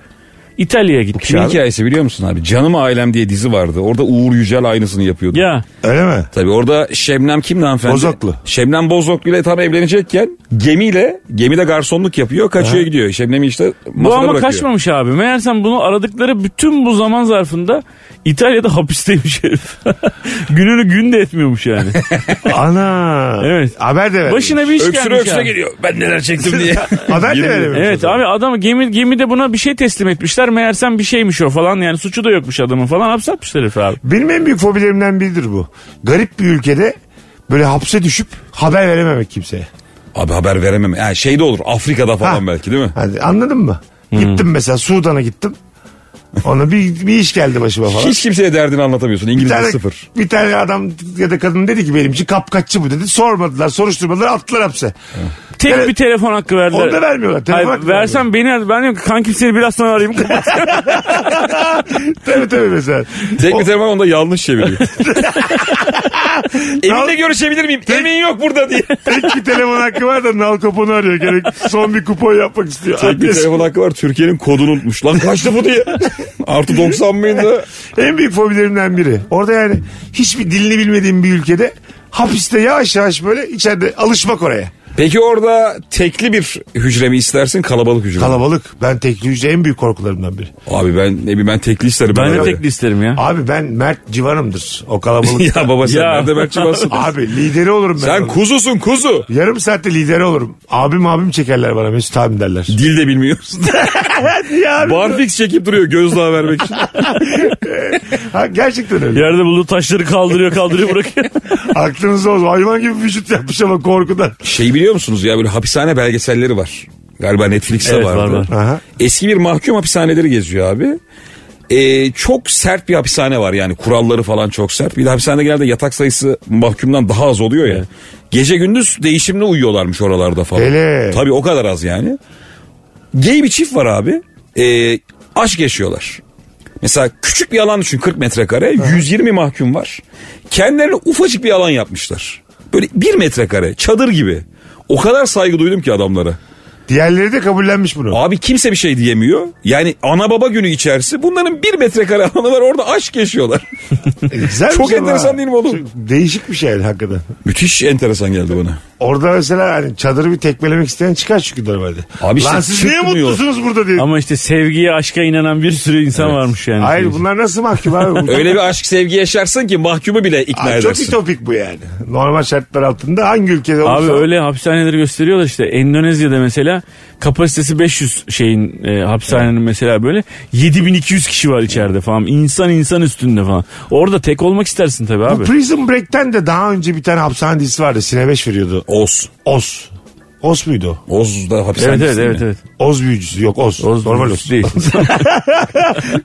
S4: İtalya'ya gitmiş
S5: Kimin
S4: abi.
S5: hikayesi biliyor musun abi? Canım Ailem diye dizi vardı. Orada Uğur Yücel aynısını yapıyordu.
S4: Ya
S3: Öyle mi?
S5: Tabii orada Şebnem kimdi hanımefendi?
S3: Bozoklu.
S5: Şebnem Bozoklu ile tam evlenecekken gemiyle, gemide garsonluk yapıyor, kaçıyor gidiyor. Şebnem'i işte masada
S4: Bu ama
S5: bırakıyor.
S4: kaçmamış abi. Meğersem bunu aradıkları bütün bu zaman zarfında İtalya'da hapisteymiş herif. Gününü gün de etmiyormuş yani.
S3: Ana.
S4: Evet.
S3: Haber de vermiyor.
S4: Başına bir iş
S5: Öksüre
S4: gelmiş
S5: öksüre
S4: abi.
S5: geliyor. Ben neler çektim diye.
S3: Haber de
S5: Yemin
S3: veremiyor.
S4: Evet abi adam gemi gemide buna bir şey teslim etmişler. Meğersem bir şeymiş o falan yani suçu da yokmuş adamın falan hapsatmışlar herifi abi.
S3: Benim en büyük fobilerimden biridir bu. Garip bir ülkede böyle hapse düşüp haber verememek kimseye.
S5: Abi haber veremem. Yani şey de olur Afrika'da falan
S3: Ha.
S5: belki değil mi?
S3: Hani anladın mı? Gittim mesela Sudan'a gittim. Ona bir, bir iş geldi başıma falan.
S5: Hiç kimseye derdini anlatamıyorsun. İngilizce
S3: tane-
S5: sıfır.
S3: Bir tane adam ya da kadın dedi ki benim için kapkaççı bu dedi. Sormadılar, soruşturmadılar, attılar hapse.
S4: Tek
S3: Evet.
S4: bir telefon hakkı verdiler.
S3: Onu da vermiyorlar. Telefon
S4: Hayır,
S3: hakkı
S4: versem beni ar- ben diyorum ki kankim seni biraz sonra arayayım.
S3: tabii tabii mesela.
S5: Tek
S3: O-
S5: bir telefon onda yanlış çeviriyor. Eminle görüşebilir miyim? Emin yok burada diye.
S3: Tek bir telefon hakkı var da nal kaponu arıyor. Gerek son bir kupon yapmak istiyor.
S5: Tek bir
S3: Adres-
S5: telefon hakkı var. Türkiye'nin kodunu unutmuş. Lan kaçtı bu diye. Artı 90 mıydı?
S3: En büyük fobilerimden biri. Orada yani hiçbir dilini bilmediğim bir ülkede hapiste yavaş yavaş böyle içeride alışmak oraya.
S5: Peki orada tekli bir hücre mi istersin kalabalık hücre mi?
S3: Kalabalık. Ben tekli hücre en büyük korkularımdan biri.
S5: Abi ben ne bileyim ben tekli isterim.
S4: Ben de
S5: herhalde.
S4: tekli isterim ya.
S3: Abi ben Mert civanımdır. O kalabalık.
S5: ya baba sen
S4: Ya.
S5: nerede Mertçi basın?
S3: Abi lideri olurum ben.
S5: sen
S3: onun.
S5: kuzusun kuzu.
S3: Yarım saatte lideri olurum. Abim abim çekerler bana Mesut abim derler.
S5: Dil de bilmiyorsun.
S3: ya abi,
S5: Barfix çekip duruyor gözdağı vermek için.
S3: ha, gerçekten öyle.
S4: Yerde bulduğu taşları kaldırıyor kaldırıyor bırakıyor.
S3: Aklınızda olsun. Hayvan gibi vücut yapmış ama korkudan.
S5: Şey biliyor musunuz ya böyle hapishane belgeselleri var. Galiba Netflix'te
S4: Evet, var,
S5: vardı.
S4: var.
S3: Aha.
S5: Eski bir mahkum hapishaneleri geziyor abi. Ee, çok sert bir hapishane var yani kuralları falan çok sert. Bir de hapishane genelde yatak sayısı mahkumdan daha az oluyor ya. Gece gündüz değişimli uyuyorlarmış oralarda falan.
S3: Hele.
S5: Tabii o kadar az yani. Gay bir çift var abi. Ee, aşk yaşıyorlar. Mesela küçük bir alan düşün 40 metrekare 120 mahkum var. Kendilerine ufacık bir alan yapmışlar. Böyle bir metrekare çadır gibi. O kadar saygı duydum ki adamlara.
S3: Diğerleri de kabullenmiş bunu.
S5: Abi kimse bir şey diyemiyor. Yani ana baba günü içerisi bunların bir metrekare alanı var orada aşk yaşıyorlar.
S3: E, güzel bir
S5: çok
S3: şey ama
S5: enteresan
S3: ha.
S5: değil mi oğlum?
S3: Çok Değişik bir şey hakikaten.
S5: Müthiş enteresan geldi bana.
S3: Orada mesela hani çadırı bir tekmelemek isteyen çıkar çünkü normalde.
S5: Abi işte
S3: Lan siz niye
S5: çıkmıyor.
S3: mutlusunuz burada diye.
S4: Ama işte sevgiye aşka inanan bir sürü insan varmış yani.
S5: şey
S3: Hayır bunlar nasıl mahkum abi? Bu-
S5: Öyle bir aşk sevgi yaşarsın ki mahkumu bile ikna
S3: Abi çok
S5: edersin.
S3: ütopik bu yani. Normal şartlar altında hangi ülkede olursa.
S4: Abi öyle hapishaneleri gösteriyorlar işte Endonezya'da mesela kapasitesi 500 şeyin e, hapishanenin mesela böyle 7200 kişi var içeride falan insan insan üstünde falan. Orada tek olmak istersin tabii
S3: Bu
S4: abi.
S3: Prison Break'ten de daha önce bir tane hapishane dizisi vardı. Sine 5 veriyordu.
S5: Oz.
S3: Oz. Oz muydu o?
S5: Oz'da hapishane.
S4: Evet evet evet evet.
S3: Oz büyücüsü. Yok Oz.
S4: Oz
S3: normal
S4: büyücüsü
S3: Oz.
S4: değil.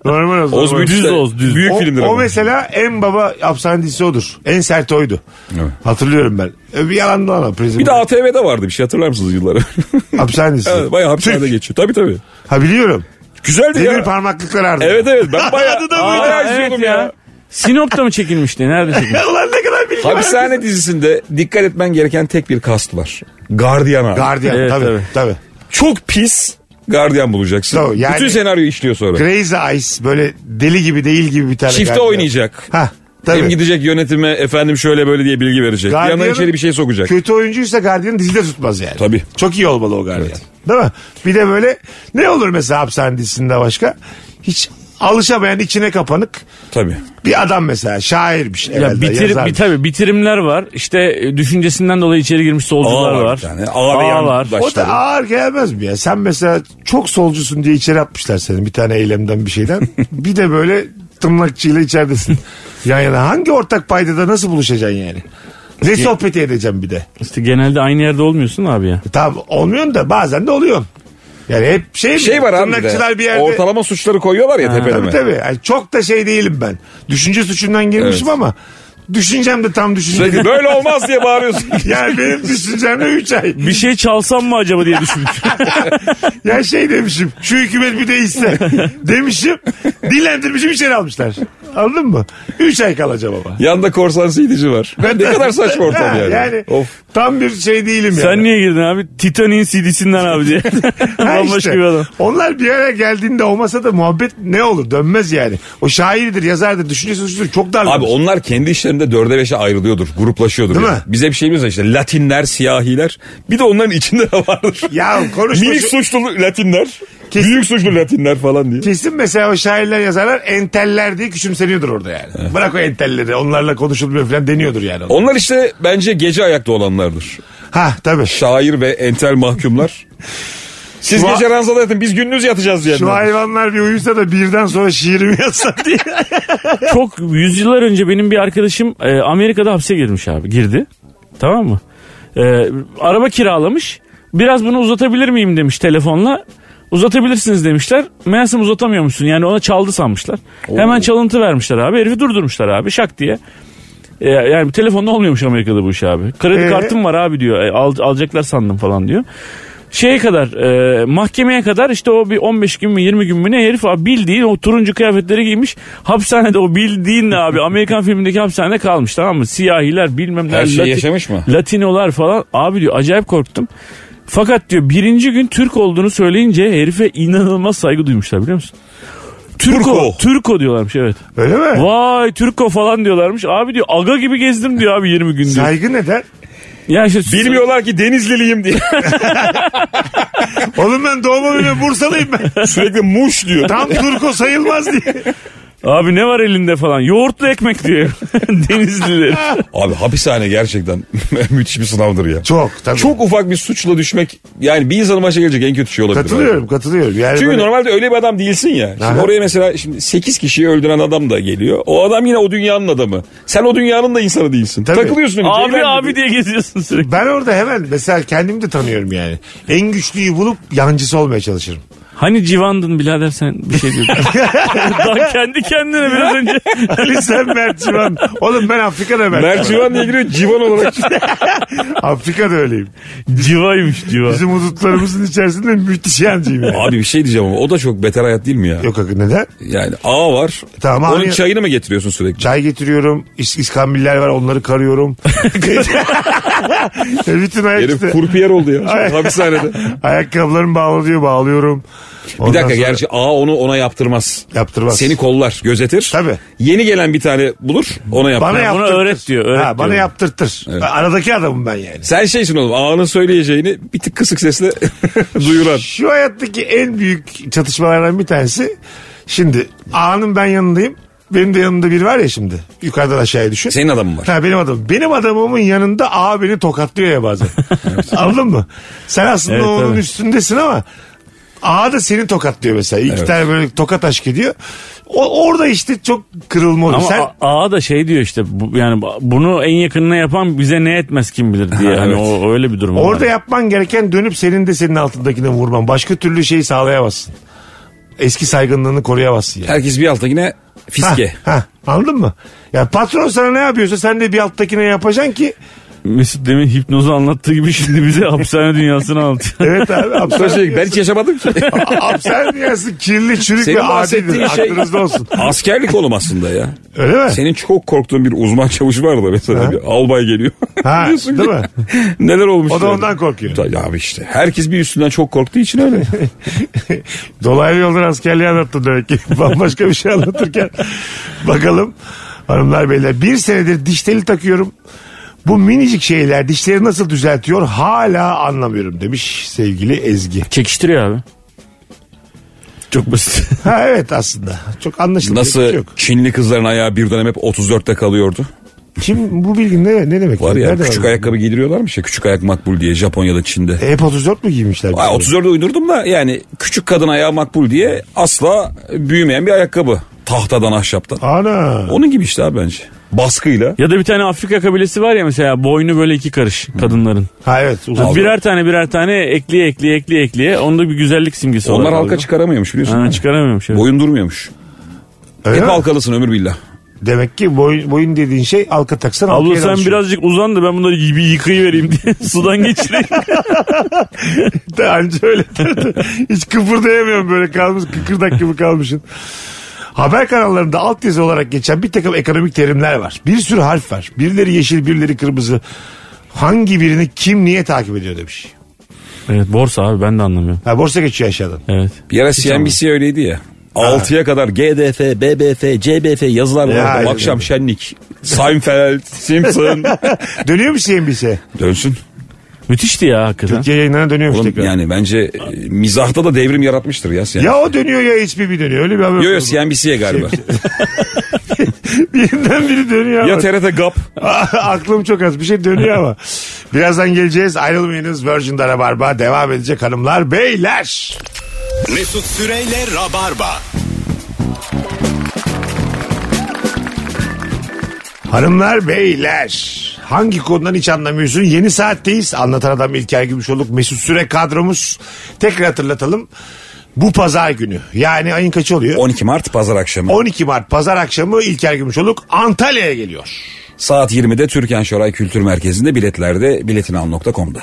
S3: normal Oz.
S5: Oz
S3: normal
S5: büyücüsü
S4: Düz
S5: de-
S4: Oz, düz.
S5: Büyük
S3: o,
S5: filmdir
S3: o
S5: ama.
S3: mesela en baba hapishane dizisi odur. En sert oydu.
S5: Evet.
S3: Hatırlıyorum ben. Ö, Bir yalan dolan. Prison
S5: Bir de
S3: Break.
S5: ATV'de vardı bir şey hatırlar mısınız yılları?
S3: Hapishane dizisi.
S5: evet, bayağı hapishanede
S3: Türk.
S5: geçiyor. Tabii tabii.
S3: Ha biliyorum.
S5: Güzeldi
S3: Demir
S5: ya.
S3: parmaklıklar ardı.
S5: Evet evet ben bayağı,
S3: Adı da böyle.
S5: bayağı
S4: Aa,
S5: izliyordum
S4: evet
S5: ya.
S4: ya. Sinop'ta mı çekilmişti? Nerede çekilmişti?
S3: Ulan ne kadar bilgi var.
S5: Hapishane dizisinde dikkat etmen gereken tek bir kast var. Gardiyan abi.
S3: Guardian
S4: Evet,
S3: tabii, tabii
S4: tabii.
S5: Çok pis gardiyan bulacaksın.
S3: Tabii, yani-
S5: Bütün senaryo işliyor sonra.
S3: Crazy Eyes böyle deli gibi değil gibi bir tane.
S5: Çifte
S3: gardiyan.
S5: oynayacak.
S3: Ha
S5: Hem
S3: tabii.
S5: gidecek yönetime efendim şöyle böyle diye bilgi verecek.
S3: Guardian'ın-
S5: Yanına içeri bir şey sokacak.
S3: Kötü oyuncuysa gardiyanı dizide tutmaz yani.
S5: Tabii.
S3: Çok iyi olmalı o gardiyan. Değil mi? Bir de böyle ne olur mesela hapishane dizisinde başka? Hiç alışamayan içine kapanık
S5: Tabii.
S3: bir adam mesela şairmiş.
S4: Ya
S3: evvelden,
S4: bitir,
S3: yazarmış.
S4: bir, tabii bitirimler var. İşte e, düşüncesinden dolayı içeri girmiş solcular
S5: Ağa var
S4: var.
S5: bir tane. Ağa ve yan
S4: var.
S5: baş-
S3: O da ağır gelmez mi ya? Sen mesela çok solcusun diye içeri atmışlar seni bir tane eylemden bir şeyden. bir de böyle tımlakçıyla içeridesin. Yan yana hangi ortak paydada nasıl buluşacaksın yani? Ne sohbeti edeceğim bir de?
S4: İşte genelde aynı yerde olmuyorsun abi ya.
S3: Tamam olmuyorsun da bazen de oluyorsun. Yani hep şey, mi?
S5: Şey var abi bir
S3: Tırnakçılar
S5: de.
S3: bir yerde.
S5: Ortalama suçları koyuyorlar ya
S3: Tabii
S5: tepeleme.
S3: tabii. Yani çok da şey değilim ben. Düşünce suçundan girmişim
S5: Evet.
S3: ama düşüncem de tam düşünce.
S5: Sürekli böyle olmaz diye bağırıyorsun.
S3: yani benim düşüncemle 3 ay.
S4: Bir şey çalsam mı acaba diye düşünmüş.
S3: Ya şey demişim şu hükümet bir değişse demişim dillendirmişim içeri almışlar. Anladın mı? 3 ay kalacağım ama.
S5: Yanda korsan CD'ci var. ne kadar saçma ortam
S3: Ha,
S5: yani. Of.
S3: tam bir şey değilim yani.
S4: Sen niye girdin abi? Titanic'in CD'sinden abi diye.
S3: Ha
S4: Bambaşka
S3: işte,
S4: bir adam.
S3: Onlar bir araya geldiğinde olmasa da muhabbet ne olur dönmez yani. O şairidir, yazardır, düşüncesi suçludur. Çok darlanır.
S5: Abi onlar kendi işlerinde dörde beşe ayrılıyordur. Gruplaşıyordur.
S3: Değil
S5: yani.
S3: mi?
S5: Bize bir şeyimiz var işte. Latinler, siyahiler. Bir de onların içinde de vardır.
S3: Ya konuşma
S5: Minik
S3: şu-
S5: suçlu Latinler.
S3: Kesin-
S5: Büyük suçlu Latinler falan diye.
S3: Kesin mesela o şairler yazarlar enteller diye küçümseniyordur orada yani. Bırak o entelleri onlarla konuşulmuyor falan deniyordur yani.
S5: Onlar işte bence gece ayakta olanlardır.
S3: Ha tabii.
S5: Şair ve entel mahkumlar. Siz
S3: Şu an-
S5: gece ranzada yatın biz gündüz yatacağız
S3: Şu
S5: diyenler.
S3: hayvanlar bir uyusa da birden sonra şiirimi yazsa diye.
S4: Çok yüzyıllar önce benim bir arkadaşım e, Amerika'da hapse girmiş abi. Girdi. Tamam mı? E, araba kiralamış. Biraz bunu uzatabilir miyim demiş telefonla. Uzatabilirsiniz demişler. Meğersem uzatamıyormuşsun. Yani ona çaldı sanmışlar. Hemen çalıntı vermişler abi. Herifi durdurmuşlar abi şak diye. E, yani telefonla olmuyormuş Amerika'da bu iş abi. Kredi
S3: Ee?
S4: kartım var abi diyor. E, al- alacaklar sandım falan diyor. Şeye kadar e, mahkemeye kadar işte o bir 15 gün mü 20 gün mü ne herif abi bildiğin o turuncu kıyafetleri giymiş. Hapishanede o bildiğin ne abi Amerikan filmindeki hapishanede kalmış tamam mı? Siyahiler bilmem ne.
S5: Her şeyi yaşamış mı?
S4: Latinolar falan abi diyor acayip korktum. Fakat diyor birinci gün Türk olduğunu söyleyince herife inanılmaz saygı duymuşlar biliyor musun? Türko.
S5: Turko.
S4: Türko diyorlarmış evet.
S3: Öyle mi?
S4: Vay Türko falan diyorlarmış. Abi diyor aga gibi gezdim diyor abi 20 gün diyor.
S3: Saygı neden?
S4: ya işte
S5: Bilmiyorlar ki Denizliliyim diye.
S3: Oğlum ben doğma büyüme Bursalıyım ben.
S5: Sürekli muş diyor.
S3: Tam Turko sayılmaz diye.
S4: Abi ne var elinde falan. Yoğurtlu ekmek diyor. Denizliler.
S5: Abi hapishane gerçekten müthiş bir sınavdır ya.
S3: Çok tabii.
S5: Çok ufak bir suçla düşmek yani bir insanın başına gelecek en kötü şey olabilir.
S3: katılıyorum katılıyorum. Yani
S5: Çünkü
S3: böyle-
S5: normalde öyle bir adam değilsin ya. Şimdi
S3: Aha.
S5: oraya mesela şimdi 8 kişiyi öldüren adam da geliyor. O adam yine o dünyanın adamı. Sen o dünyanın da insanı değilsin.
S3: Tabii.
S5: Takılıyorsun. öyle,
S4: abi
S5: ceylan
S4: abi
S5: gibi.
S4: diye geziyorsun sürekli.
S3: Ben orada hemen mesela kendimi de tanıyorum yani. En güçlüyü bulup yancısı olmaya çalışırım.
S4: Hani civandın birader sen bir şey diyordun. Daha kendi kendine biraz önce.
S3: Ali Hani sen Mercivan. Oğlum ben Afrika'da Mercivan.
S5: Mercivan diye giriyor civan olarak.
S3: Afrika'da öyleyim.
S4: Civaymış civa.
S3: Bizim hudutlarımızın içerisinde müthiş yancıyım yani.
S5: Abi bir şey diyeceğim ama o da çok beter hayat değil mi ya?
S3: Yok akı neden?
S5: Yani ağ var.
S3: E Tamam,
S5: Onun
S3: aynı-
S5: çayını mı getiriyorsun sürekli?
S3: Çay getiriyorum. İs iskambiller var onları karıyorum. E, Bütün ayak
S5: Herif
S3: işte.
S5: kurpiyer oldu ya. hapishanede.
S3: Ayakkabılarımı bağlıyor bağlıyorum.
S5: Bir dakika gerçi A onu ona yaptırmaz.
S3: Yaptırmaz.
S5: Seni kollar, gözetir.
S3: Tabii.
S5: Yeni gelen bir tane bulur, ona yaptırır.
S3: bana yaptırtır.
S4: öğret diyor, öğret
S3: ha, bana
S4: diyor.
S3: yaptırtır. Aradaki adamım ben yani.
S5: Sen şeysin oğlum ağanın söyleyeceğini bir tık kısık sesle duyuran.
S3: Şu hayattaki en büyük çatışmalardan bir tanesi. Şimdi A'nın ben yanındayım. Benim de yanımda biri var ya şimdi. Yukarıdan aşağıya düşün.
S5: Senin adamın var.
S3: Ha benim adamım. Benim adamımın yanında A beni tokatlıyor ya bazen. Anladın mı? Sen aslında
S4: Evet,
S3: onun
S4: tabii.
S3: üstündesin ama A da seni tokatlıyor mesela. İki
S5: Evet.
S3: tane böyle tokat aşk ediyor. O, orada işte çok kırılma oluyor.
S4: Ama
S3: Sen
S4: A- ağa da şey diyor işte bu, yani bu- bunu en yakınına yapan bize ne etmez kim bilir diye.
S5: Ha,
S4: Hani
S5: evet.
S4: o öyle bir durum.
S3: orada
S4: var.
S3: yapman gereken dönüp senin de senin altındakine vurman. Başka türlü şeyi sağlayamazsın. Eski saygınlığını koruyamazsın yani.
S5: Herkes bir alttakine fiske.
S3: Ha, ha, anladın mı? Ya patron sana ne yapıyorsa sen de bir alttakine yapacaksın ki.
S4: Mesut demin hipnozu anlattığı gibi şimdi bize hapishane dünyasını anlatıyor.
S3: Evet abi.
S5: Sonra
S3: hapishane
S5: şey, ben hiç yaşamadım ki.
S3: dünyası- Hapishane dünyası kirli çürük
S5: Senin
S3: ve adidir.
S5: bahsettiğin şey-
S3: Aklınızda olsun.
S5: Askerlik oğlum aslında ya.
S3: Öyle mi?
S5: Senin çok korktuğun bir uzman çavuş var da mesela bir albay geliyor.
S3: Ha,
S5: Diyorsun
S3: değil
S5: ki,
S3: mi?
S5: Neler olmuş?
S3: O da
S5: yani?
S3: ondan korkuyor.
S5: Ta- Abi işte herkes bir üstünden çok korktuğu için öyle.
S3: Dolaylı yoldan askerliği anlattı demek ki. Bambaşka bir şey anlatırken. Bakalım hanımlar beyler. Bir senedir diş teli takıyorum. Bu minicik şeyler dişleri nasıl düzeltiyor hala anlamıyorum demiş sevgili Ezgi.
S4: Çekiştiriyor abi. Çok basit.
S3: Ha evet aslında. Çok anlaşılır.
S5: Nasıl
S3: şey Yok.
S5: Çinli kızların ayağı bir dönem hep 34'te kalıyordu.
S3: Kim bu bilgi ne, ne demek?
S5: Var ya
S3: Nereden
S5: küçük
S3: aldın?
S5: ayakkabı giydiriyorlarmış ya küçük ayak makbul diye Japonya'da Çin'de.
S3: Hep 34 mu giymişler?
S5: Ay, 34'e uydurdum da yani küçük kadın ayağı makbul diye asla büyümeyen bir ayakkabı. Tahtadan ahşaptan.
S3: Ana.
S5: Onun gibi işte abi bence. Baskıyla.
S4: Ya da bir tane Afrika kabilesi var ya mesela boynu böyle iki karış kadınların.
S3: Ha evet. uzun.
S4: Birer tane birer tane ekliye ekliye ekliye ekliye. Onda bir güzellik simgesi
S5: Onlar
S4: olarak
S5: halka
S4: alıyor.
S5: çıkaramıyormuş biliyorsun.
S4: Ha,
S5: değil mi?
S4: çıkaramıyormuş. Evet.
S5: Boyun durmuyormuş.
S3: Öyle
S5: Hep
S3: mi?
S5: halkalısın ömür billah.
S3: Demek ki boyun, boyun dediğin şey alka taksan
S4: Abla
S3: alkaya
S4: sen
S3: alışıyor.
S4: birazcık uzan da ben bunları bir yıkayıvereyim diye sudan geçireyim.
S3: de anca öyle derdi. Hiç kıpırdayamıyorum böyle kalmış kıkırdak gibi kalmışsın. Haber kanallarında altyazı olarak geçen bir takım ekonomik terimler var. Bir sürü harf var. Birileri yeşil, birileri kırmızı. Hangi birini kim niye takip ediyor demiş.
S4: evet borsa abi ben de anlamıyorum.
S3: Ha, borsa geçiyor aşağıdan.
S4: Evet.
S5: Bir ara CNBC öyleydi ya. 6'ya kadar GDF, BBF, CBF yazılar
S3: Ya,
S5: vardı.
S3: evet,
S5: Akşam şenlik. Seinfeld, Simpson.
S3: Dönüyor mu CNBC?
S5: Dönsün.
S4: Müthişti ya hakikaten.
S3: Türkiye yayınlarına dönüyormuş
S5: Oğlum
S3: tekrar.
S5: yani bence e, mizahta da devrim yaratmıştır ya CNBC.
S3: Ya o dönüyor ya HBB dönüyor. Öyle bir haber.
S5: Yo yo
S3: okudum.
S5: CNBC'ye galiba.
S3: Birinden biri dönüyor. ama.
S5: ya TRT GAP.
S3: Aklım çok az. Bir şey dönüyor ama. Birazdan geleceğiz. Ayrılmayınız. Virgin'de Rabarba devam edecek hanımlar. Beyler.
S2: Mesut Süreyle Rabarba.
S3: Hanımlar beyler hangi konudan hiç anlamıyorsun? Yeni saatteyiz. Anlatan adam İlker Gümüşoluk Mesut Süre kadromuz. Tekrar hatırlatalım. Bu pazar günü yani ayın kaçı oluyor?
S5: 12 Mart pazar akşamı.
S3: 12 Mart pazar akşamı İlker Gümüşoluk Antalya'ya geliyor.
S5: Saat 20'de Türkan Şoray Kültür Merkezi'nde biletlerde biletinal.com'da.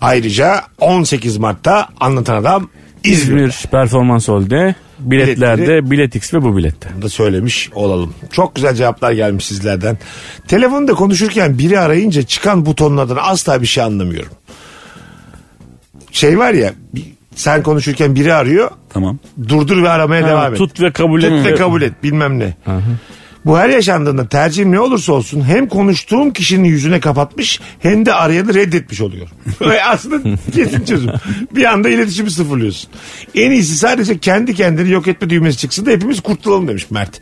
S3: Ayrıca 18 Mart'ta Anlatan Adam İzmir'de
S4: İzmir Performans Hall'de biletlerde,
S3: Biletleri-
S4: biletix ve bu bilette.
S3: da söylemiş olalım. Çok güzel cevaplar gelmiş sizlerden. Telefonda konuşurken biri arayınca çıkan butonlardan asla bir şey anlamıyorum. Şey var ya bir Sen konuşurken biri arıyor.
S5: Tamam.
S3: Durdur ve aramaya
S4: Ha,
S3: devam et.
S4: tut ve kabul
S3: Tut
S4: et.
S3: ve kabul et bilmem ne. Bu her yaşandığında tercihim ne olursa olsun hem konuştuğum kişinin yüzüne kapatmış hem de arayanı reddetmiş oluyor. Ve aslında kesin çözüm. Bir anda iletişimi sıfırlıyorsun. En iyisi sadece kendi kendini yok etme düğmesi çıksın da hepimiz kurtulalım demiş Mert.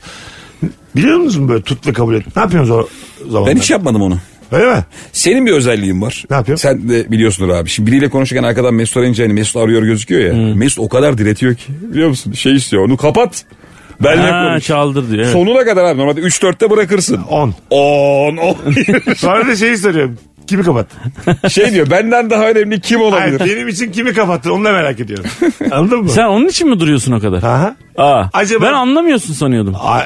S3: Biliyor musunuz böyle tut ve kabul et? Ne yapıyorsunuz o zamanlar?
S5: Ben hiç yapmadım onu.
S3: Öyle mi?
S5: Senin bir özelliğin var.
S3: Ne yapıyorum?
S5: Sen de biliyorsundur abi. Şimdi biriyle konuşurken arkadan Mesut arayınca hani Mesut arıyor gözüküyor ya.
S4: Hmm.
S5: Mesut o kadar diretiyor ki. Biliyor musun? Şey istiyor onu kapat. Benle
S4: Ha,
S5: konuş.
S4: çaldır diyor. evet.
S5: Sonuna kadar abi. Normalde 3-4'te bırakırsın.
S3: 10.
S5: 10
S3: Sonra da şeyi soruyorum. Kimi kapattın?
S5: Şey diyor benden daha önemli kim
S3: Hayır,
S5: olabilir?
S3: benim için kimi kapattın onu da merak ediyorum. Anladın mı?
S4: Sen onun için mi duruyorsun o kadar?
S3: Aha.
S4: Aa,
S3: Acaba-
S4: Ben anlamıyorsun sanıyordum.
S3: Aa,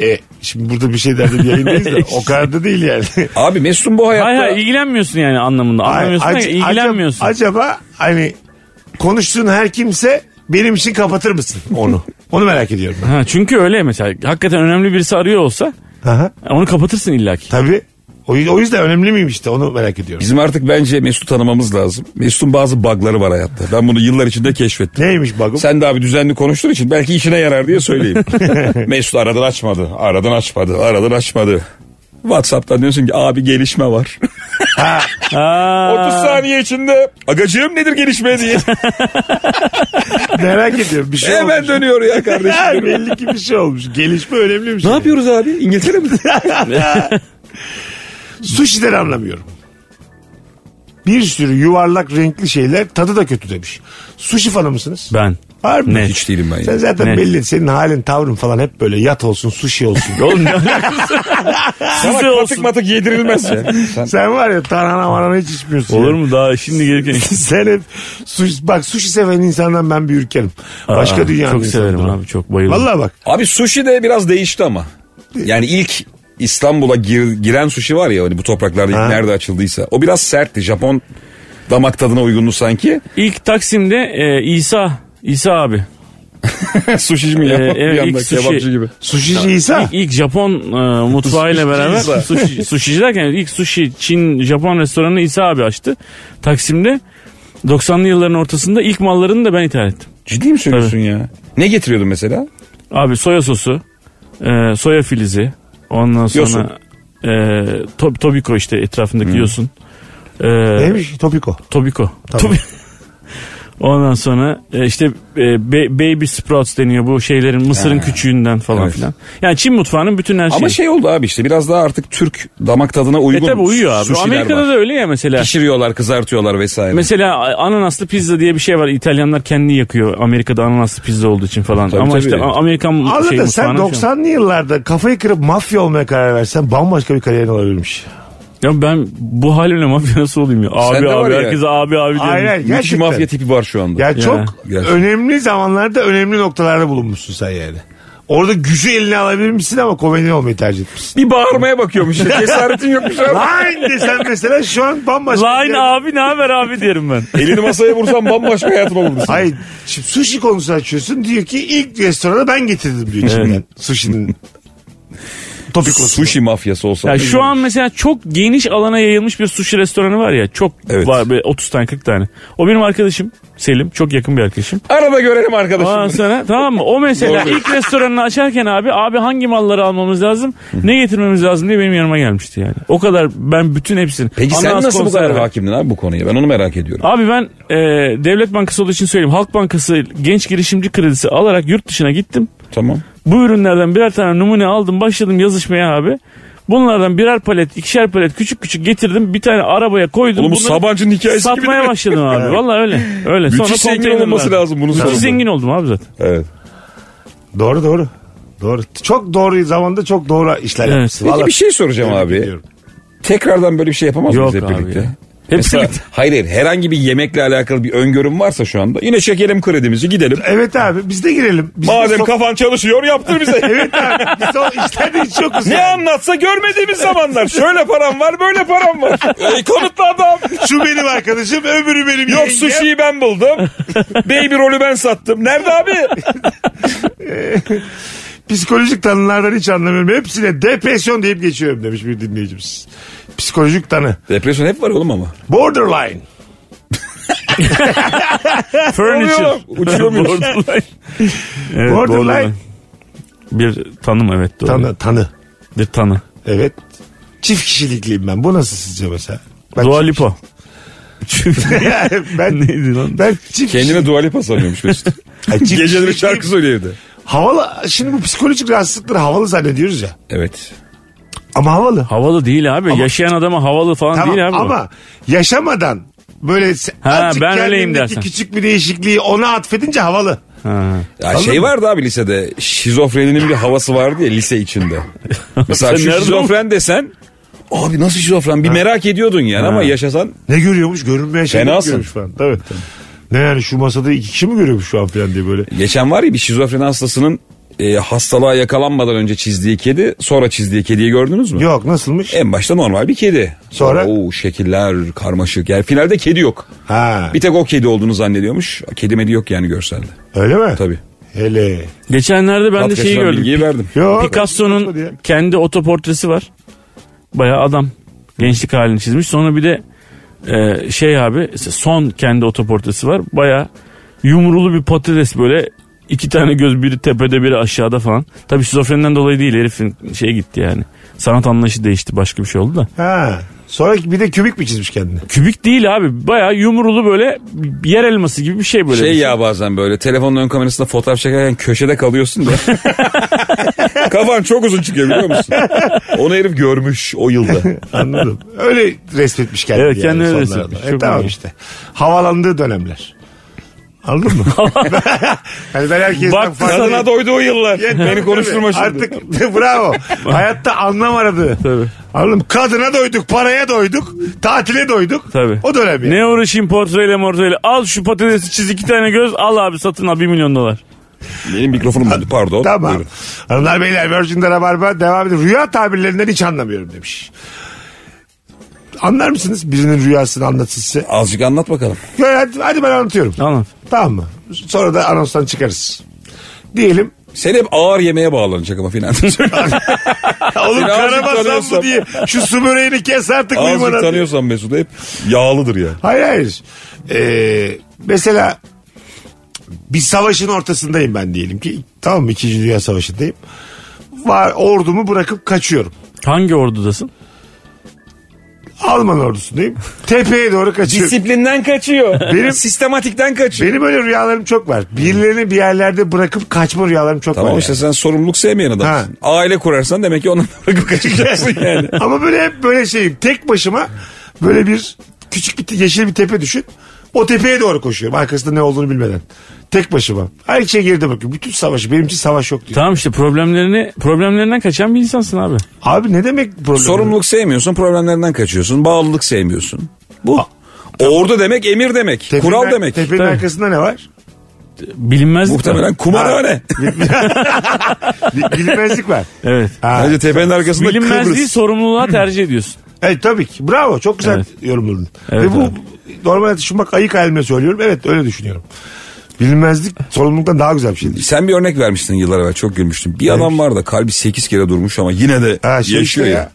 S3: e, şimdi burada bir şey derdim yayındayız da o kadar da değil yani.
S5: Abi Mesut'un bu hayatta...
S4: Hayır hayır ilgilenmiyorsun yani anlamında. Anlamıyorsun
S3: Ay,
S4: da
S3: ac-
S4: ilgilenmiyorsun.
S3: acaba- Acaba hani konuştuğun her kimse benim için kapatır mısın onu? onu merak ediyorum ben.
S4: Ha, çünkü öyle mesela. Hakikaten önemli birisi arıyor olsa
S3: Aha,
S4: onu kapatırsın illaki.
S3: tabii. O, o yüzden önemli miyim işte onu merak ediyorum.
S5: Bizim artık bence Mesut'u tanımamız lazım. Mesut'un bazı bugları var hayatta. Ben bunu yıllar içinde keşfettim.
S3: Neymiş bagım?
S5: Sen de abi düzenli konuştuğun için belki işine yarar diye söyleyeyim. Mesut aradan açmadı, aradan açmadı, aradan açmadı. Whatsapp'tan diyorsun ki abi gelişme var.
S4: Aa,
S5: 30 saniye içinde agacığım nedir gelişme diye.
S3: Merak ediyorum bir şey
S5: Hemen
S3: olmuş.
S5: dönüyor ya
S3: Ha,
S5: kardeşim.
S3: belli ki bir şey olmuş. Gelişme önemli bir şey.
S5: ne yapıyoruz abi? İngiltere mi?
S3: Sushi'den anlamıyorum. Bir sürü yuvarlak renkli şeyler tadı da kötü demiş. Sushi fanı mısınız?
S4: ben.
S3: Harbi. mi?
S4: Net.
S5: Hiç değilim ben.
S3: Sen
S5: ya.
S3: zaten
S4: Net.
S3: belli senin halin tavrın falan hep böyle yat olsun sushi olsun.
S4: Oğlum ne alakası?
S5: Sana
S4: Size
S5: katık
S4: olsun.
S5: matık yedirilmez ya. Sen-
S3: Sen var ya tarhana marana hiç içmiyorsun.
S4: Olur
S3: ya.
S4: mu daha şimdi gelirken?
S3: Sen hep sushi, bak sushi seven insandan ben bir ürkerim. Başka
S4: Aa,
S3: dünyanın
S4: Çok severim
S3: insanıdır o.
S4: abi çok bayılırım.
S3: Vallahi bak.
S5: Abi sushi de biraz değişti ama. Yani ilk İstanbul'a gir- giren sushi var ya hani bu topraklarda ilk
S3: Ha.
S5: nerede açıldıysa. O biraz sertti. Japon damak tadına uygundu sanki.
S4: İlk Taksim'de e, İsa İsa abi.
S5: Sushici mi ya?
S4: Ee, evet,
S5: bir
S4: ilk
S5: anda
S4: sushi.
S5: kebapçı gibi.
S3: Sushici İsa.
S4: İlk Japon e, mutfağıyla beraber
S5: İsa.
S4: sushi, sushi derken ilk sushi Çin Japon restoranını İsa abi açtı. Taksim'de 90'lı yılların ortasında ilk mallarını da ben ithal ettim.
S5: Ciddi mi söylüyorsun ya? Ne getiriyordun mesela?
S4: Abi soya sosu, e, soya filizi, ondan
S5: Yosun.
S4: sonra e, to- tobiko işte etrafındaki yosun. E,
S3: Neymiş? Topiko.
S4: Tobiko. Tobi- Ondan sonra e, işte e, be- baby sprouts deniyor bu şeylerin mısırın küçüğünden falan
S5: Evet.
S4: filan. Yani Çin mutfağının bütün her şeyi.
S5: Ama şey oldu abi işte biraz daha artık Türk damak tadına
S4: e
S5: uygun.
S4: tabi uyuyor abi.
S5: sushiler
S4: Amerika'da
S5: var.
S4: da öyle ya mesela.
S5: Pişiriyorlar, kızartıyorlar vesaire.
S4: Mesela ananaslı pizza diye bir şey var. İtalyanlar kendi yakıyor. Amerika'da ananaslı pizza olduğu için falan.
S5: Tabii,
S4: Ama
S5: tabii.
S4: işte A- Amerikan
S3: Anladın
S4: şey
S3: sen
S4: mutfağının şey-
S3: 90'lı yıllarda kafayı kırıp mafya olmaya karar versen bambaşka bir kariyerin olabilirmiş.
S4: Ya ben bu halimle mafya nasıl olayım ya? Abi
S5: Sende var
S4: abi
S5: ya.
S4: herkese abi abi diyorum.
S3: Aynen
S5: Müthiş
S3: gerçekten.
S5: mafya tipi var şu anda.
S3: Ya çok
S5: Gerçekten.
S3: önemli zamanlarda önemli noktalarda bulunmuşsun sen yani. Orada gücü eline alabilmişsin ama komedyen olmayı tercih etmişsin.
S5: Bir bağırmaya bakıyormuş. işte, Cesaretin yokmuş abi.
S3: Line desen mesela şu an bambaşka. bir
S4: Line
S3: yer-
S4: abi ne haber abi derim ben.
S5: Elini masaya vursan bambaşka hayatım olurdu.
S3: Hayır. Şimdi sushi konusu açıyorsun. Diyor ki ilk restorana ben getirdim diyor içinden. Sushi'nin topik olsun.
S5: Sushi mafyası olsa.
S4: Ya şu an mesela çok geniş alana yayılmış bir sushi restoranı var ya. Çok
S5: Evet.
S4: var böyle 30 tane 40 tane. O benim arkadaşım Selim. Çok yakın bir arkadaşım.
S5: Arada görelim
S4: Ondan
S5: arkadaşım.
S4: sonra tamam mı? O mesela ilk restoranını açarken abi abi hangi malları almamız lazım? ne getirmemiz lazım diye benim yanıma gelmişti yani. O kadar ben bütün hepsini.
S5: Peki sen
S4: Ananas
S5: nasıl bu kadar
S4: konserve.
S5: hakimdin abi bu konuya? Ben onu merak ediyorum.
S4: Abi ben e, Devlet Bankası olduğu için söyleyeyim. Halk Bankası genç girişimci kredisi alarak yurt dışına gittim.
S5: Tamam.
S4: Bu ürünlerden birer tane numune aldım başladım yazışmaya abi. Bunlardan birer palet, ikişer palet küçük küçük getirdim. Bir tane arabaya koydum.
S5: Oğlum bu
S4: Bunları
S5: Sabancı'nın hikayesi gibi
S4: Satmaya
S5: değil mi?
S4: başladım abi. Vallahi öyle. Öyle.
S5: Müthiş
S4: Sonra
S5: zengin
S4: konteynerler.
S5: olması lazım bunun
S4: Müthiş
S5: sonunda.
S4: zengin oldum abi zaten.
S5: Evet.
S3: Doğru doğru. Doğru. Çok doğru zamanda çok doğru işler
S4: Evet.
S3: yapmışsın.
S5: Peki
S3: Vallahi
S5: bir şey soracağım abi.
S3: ediyorum.
S5: Tekrardan böyle bir şey yapamaz
S4: Yok
S5: mıyız hep
S4: abi
S5: birlikte?
S4: ya. Hepsi
S5: Mesela- hayır hayır herhangi bir yemekle alakalı bir öngörüm varsa şu anda yine çekelim kredimizi gidelim.
S3: Evet abi biz de girelim. Biz de
S5: Madem
S3: so-
S5: kafan çalışıyor yaptır bize.
S3: Evet abi biz de o işlerde hiç yokuz.
S5: ne anlatsa görmediğimiz zamanlar. Şöyle param var böyle param var. Ey konutlu adam.
S3: Şu benim arkadaşım öbürü benim
S5: Yok
S3: yengem.
S5: sushi'yi ben buldum. Baby rolü ben sattım. Nerede abi?
S3: Psikolojik tanılardan hiç anlamıyorum. Hepsine depresyon deyip geçiyorum demiş bir dinleyicimiz. Psikolojik tanı.
S5: Depresyon hep var oğlum ama.
S3: Borderline.
S4: Furniture.
S5: Uçuyor muyuz?
S4: Borderline. evet,
S3: Borderline.
S4: Bir tanım evet doğru.
S3: Tanı, tanı.
S4: Bir tanı.
S3: Evet. Çift kişilikliyim ben. Bu nasıl sizce mesela? Ben
S4: Dua
S3: çift-
S4: Lipa.
S3: ben,
S4: Neydi lan?
S3: ben çift
S5: Kendine Dua Lipa sanıyormuş Mesut.
S3: Ay, çift
S5: Geceleri
S3: kişilik
S5: şarkı
S3: değil.
S5: söylüyor evde.
S3: Havalı. Şimdi bu psikolojik rahatsızlıkları havalı zannediyoruz ya.
S5: Evet.
S3: Ama havalı.
S4: Havalı değil abi. Yaşayan adama havalı falan
S3: Tamam
S4: değil abi. bu.
S3: ama yaşamadan böyle se-
S4: Ha,
S3: azıcık
S4: ben öyleyim
S3: kendindeki
S4: dersen.
S3: küçük bir değişikliği ona atfedince havalı.
S4: Ha.
S5: Ya şey vardı abi lisede şizofreninin bir havası vardı ya lise içinde. Mesela
S4: Sen
S5: şu
S4: nereden-
S5: şizofren desen abi nasıl şizofren bir merak ediyordun yani ama yaşasan
S3: Ne görüyormuş? Görünmeyen şey
S5: Fenasın.
S3: görüyormuş falan. Tabii. Ne yani şu masada iki kişi mi görüyormuş şu an falan diye böyle.
S5: geçen var ya bir şizofren hastasının e, hastalığa yakalanmadan önce çizdiği kedi sonra çizdiği kediyi gördünüz mü?
S3: Yok nasılmış?
S5: En başta normal bir kedi.
S3: Sonra?
S5: Oo, şekiller karmaşık. Yani finalde kedi yok.
S3: Ha.
S5: Bir tek o kedi olduğunu zannediyormuş. Kedi medi yok yani görselde.
S3: Öyle mi?
S5: Tabii.
S3: Hele.
S4: Geçenlerde ben de
S5: Pat
S4: şeyi
S5: kaçıran
S4: gördüm.
S5: Bilgiyi verdim.
S3: Yok.
S4: Picasso'nun kendi otoportresi var. Bayağı adam gençlik halini çizmiş. Sonra bir de e, şey abi son kendi otoportresi var. Bayağı yumrulu bir patates böyle iki tane göz biri tepede biri aşağıda falan. Tabii şizofrenden dolayı değil herifin şey gitti yani. Sanat anlayışı değişti başka bir şey oldu da.
S3: Ha. Sonra bir de kübik mi çizmiş kendini?
S4: Kübik değil abi bayağı yumrulu böyle yer elması gibi bir şey böyle.
S5: Şey
S4: Bir
S5: ya bazen böyle telefonun ön kamerasında fotoğraf çekerken köşede kalıyorsun da. Kafan çok uzun çıkıyor biliyor musun? Onu herif görmüş o yılda.
S3: Anladım. Öyle resmetmiş kendini.
S4: Evet, kendini
S3: yani
S4: öyle
S3: sonlarda.
S4: resmetmiş.
S3: E,
S4: Çok
S3: tamam
S4: iyi.
S3: işte. Havalandığı dönemler. Anladın mı? yani ben herkesten
S4: Bak
S3: farklı-
S5: Sana doydu o yıllar.
S3: Yani
S5: Beni
S3: tabii,
S5: konuşturma
S3: tabii.
S5: şimdi.
S3: Artık bravo. Hayatta anlam aradı.
S4: Tabii.
S3: Anladın mı? Kadına doyduk, paraya doyduk, tatile doyduk.
S4: Tabii.
S3: O dönem yani.
S4: Ne uğraşayım portreyle mortreyle. Al şu patatesi çiz iki tane göz. Al abi satın al 1 milyon dolar.
S5: Benim mikrofonum bozuldu, pardon.
S3: Tamam.
S5: Buyurun.
S3: Hanımlar beyler Virgin'de Rabarba devam ediyor. Rüya tabirlerinden hiç anlamıyorum demiş. Anlar mısınız birinin rüyasını anlatsın size?
S5: Azıcık anlat bakalım.
S3: Ya Hadi, hadi ben anlatıyorum.
S4: Anlat.
S3: Tamam mı? Sonra da anonstan çıkarız. Diyelim.
S5: Sen hep ağır yemeğe bağlanacak ama finalde.
S3: Oğlum
S5: Seni azıcık
S3: karabasan bu
S5: tanıyorsam-
S3: diye. Şu su böreğini kes artık
S5: Azıcık
S3: uyumadan.
S5: tanıyorsan Mesut hep yağlıdır ya.
S3: Hayır hayır. Ee, mesela bir savaşın ortasındayım ben diyelim ki. Tamam mı? İkinci Dünya Savaşı'ndayım. Var, ordumu bırakıp kaçıyorum.
S4: Hangi ordudasın?
S3: Alman ordusundayım. Tepeye doğru kaçıyorum.
S5: Disiplinden kaçıyor.
S3: Benim-
S5: sistematikten kaçıyor.
S3: Benim öyle rüyalarım çok var. Birilerini bir yerlerde bırakıp kaçma rüyalarım çok
S5: Tamam
S3: var.
S5: işte
S3: yani.
S5: sen sorumluluk sevmeyen adamsın. Aile kurarsan demek ki ondan bırakıp kaçacaksın yani.
S3: Ama böyle hep böyle şeyim. Tek başıma böyle bir küçük bir te- yeşil bir tepe düşün. O tepeye doğru koşuyorum. Arkasında ne olduğunu bilmeden. Tek başıma. Her şeye geride bakıyorum. Bütün savaşı. Benim için savaş yok diyor.
S4: Tamam işte problemlerini problemlerinden kaçan bir insansın abi.
S3: Abi ne demek problem?
S5: Sorumluluk sevmiyorsun, problemlerinden kaçıyorsun, bağlılık sevmiyorsun. Bu. Ordu demek emir demek,
S3: Tepenin ar-
S5: kural demek.
S3: Tepenin
S4: Tabii.
S3: arkasında ne var?
S4: Bilinmez.
S5: Muhtemelen kumarhane.
S3: Bi- Bilinmezlik var.
S4: Evet.
S3: Ha.
S5: Bence tepenin arkasında
S4: Bilinmezliği
S5: Kıbrıs.
S4: sorumluluğa tercih ediyorsun.
S3: Evet tabii ki. Bravo. Çok güzel
S4: Evet.
S3: yorumladın.
S4: Evet
S3: Ve bu
S4: abi.
S3: normalde düşünmek ayık halimle söylüyorum. Evet öyle düşünüyorum. Bilinmezlik sorumluluktan daha güzel bir şey. şeydir.
S5: Sen bir örnek vermiştin yıllar evvel çok gülmüştüm. Bir adam var da kalbi 8 kere durmuş ama yine de
S3: Ha, şey
S5: yaşıyor
S3: işte
S5: ya.
S3: ya.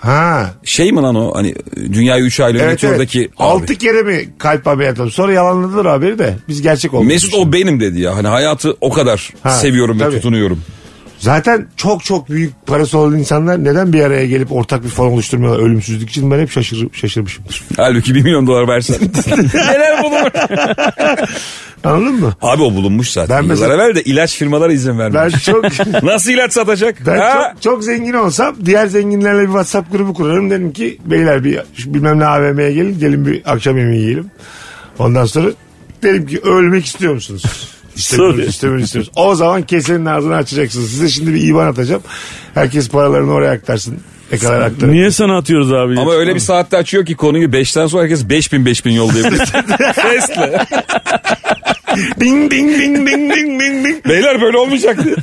S3: Ha.
S5: Şey mi lan o hani dünyayı 3 aylık
S3: Evet,
S5: meteordaki
S3: evet.
S5: abi.
S3: Altı kere mi kalp ameliyatı oldu? Sonra yalanladılar haberi de. Biz gerçek olduk.
S5: Mesut o benim dedi ya. Hani hayatı o kadar
S3: Ha,
S5: seviyorum ve
S3: tabii.
S5: tutunuyorum.
S3: Zaten çok çok büyük parası olan insanlar neden bir araya gelip ortak bir fon oluşturmuyorlar ölümsüzlük için? Ben hep şaşır, şaşırmışımdır.
S5: Halbuki 1 milyon dolar versen. Neler bulunur?
S3: Anladın mı?
S5: Abi o bulunmuş zaten.
S3: Ben
S5: Yıllar
S3: mesela-
S5: evvel de ilaç firmalara izin vermiş.
S3: Ben çok
S5: Nasıl ilaç satacak?
S3: ben
S5: Ha?
S3: çok, çok zengin olsam diğer zenginlerle bir WhatsApp grubu kurarım. Derim ki beyler bir şu bilmem ne AVM'ye gelin gelin bir akşam yemeği yiyelim. Ondan sonra derim ki ölmek istiyor musunuz? İstemiyoruz,
S4: Sorry.
S3: istemiyoruz, istemiyoruz. O zaman kesenin ağzını açacaksınız. Size şimdi bir IBAN atacağım. Herkes paralarını oraya aktarsın. Ne kadar aktarın.
S4: Niye sana atıyoruz abi?
S5: Ama öyle bir saatte açıyor ki konuyu 5'ten sonra herkes 5000 5000 yollayabilir. Fesle.
S3: Ding ding ding ding ding ding ding.
S5: Beyler böyle olmayacaktı.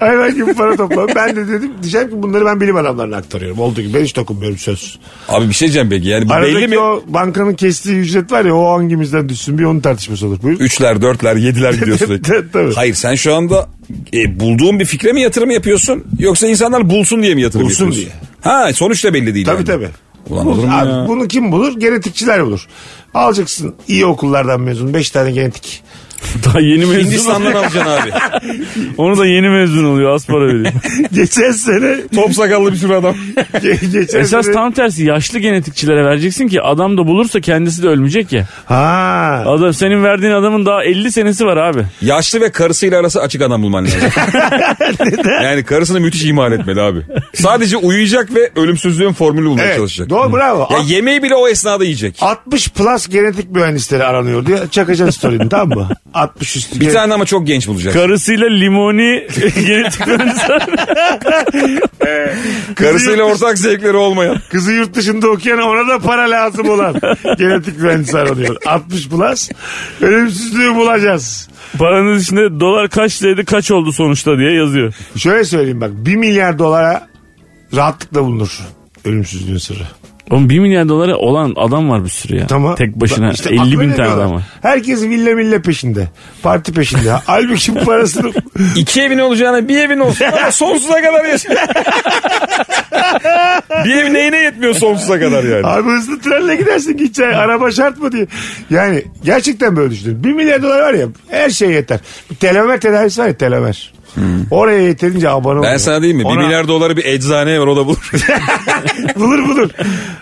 S3: Hayvan gibi para toplam. Ben de dedim diyeceğim ki bunları ben bilim adamlarına aktarıyorum. Olduğu gibi ben hiç dokunmuyorum söz.
S5: Abi bir şey diyeceğim peki yani bu
S3: Aradaki
S5: belli mi?
S3: o bankanın kestiği ücret var ya o hangimizden düşsün bir onun tartışması olur. Buyur.
S5: Üçler, dörtler, yediler gidiyor sürekli.
S3: Tabii.
S5: Hayır sen şu anda e, bulduğun bir fikre mi yatırım yapıyorsun? Yoksa insanlar bulsun diye mi yatırım
S3: Bulsun
S5: yapıyorsun? Ha sonuç da belli değil
S3: Tabii
S5: yani.
S3: tabii.
S5: Ulan olur mu
S3: Abi,
S5: ya?
S3: Bunu kim bulur? Genetikçiler bulur. Alacaksın iyi okullardan mezun. Beş tane genetik.
S4: Daha yeni mezun.
S5: Hindistan'dan alacaksın abi.
S4: Onu da yeni mezun oluyor az para veriyor.
S3: Geçen sene
S5: Top sakallı bir sürü adam.
S3: ge- geçen
S4: Esas
S3: sene-
S4: tam tersi yaşlı genetikçilere vereceksin ki adam da bulursa kendisi de ölmeyecek ya.
S3: Ha.
S4: Adam senin verdiğin adamın daha 50 senesi var abi.
S5: Yaşlı ve karısıyla arası açık adam bulman lazım. yani karısını müthiş ihmal etmeli abi. Sadece uyuyacak ve ölümsüzlüğün formülü bulmaya
S3: Evet.
S5: çalışacak.
S3: Doğru bravo.
S4: Ah.
S5: Ya yemeği bile o esnada yiyecek.
S3: 60 plus genetik mühendisleri aranıyor diye çakacağız story'ini tamam mı? 60 üstü.
S5: Bir
S3: gen-
S5: tane ama çok genç bulacak.
S4: Karısıyla limoni genetik mühendisi.
S5: Karısıyla ortak zevkleri olmayan.
S3: Kızı yurt dışında okuyan ona da para lazım olan genetik mühendisi aranıyor. 60 plus ölümsüzlüğü bulacağız.
S4: Paranız içinde dolar kaç dedi kaç oldu sonuçta diye yazıyor.
S3: Şöyle söyleyeyim bak 1 milyar dolara rahatlıkla bulunur ölümsüzlüğün sırrı.
S4: Oğlum 1 milyar dolara olan adam var bir sürü ya.
S3: Tamam.
S4: Tek başına
S3: İşte
S4: 50 bin
S3: akıl
S4: tane
S3: veriyorlar.
S4: adam var.
S3: Herkes villa mille peşinde. Parti peşinde. Halbuki bu parasını
S5: İki evin olacağına bir evin olsun ama sonsuza kadar yaşa. bir ev neyine yetmiyor sonsuza kadar
S4: Ah.
S5: yani.
S3: Abi hızlı trenle gidersin gideceksin. Araba şart mı diye. Yani gerçekten böyle düşünün. Bir milyar dolar var ya her şey yeter. Bir telemer tedavisi var ya telemer.
S4: Hmm.
S3: Oraya yeterince abone ol.
S5: Ben sana diyeyim mi? Bir milyar doları bir eczaneye ver o da bulur.
S3: Bulur bulur.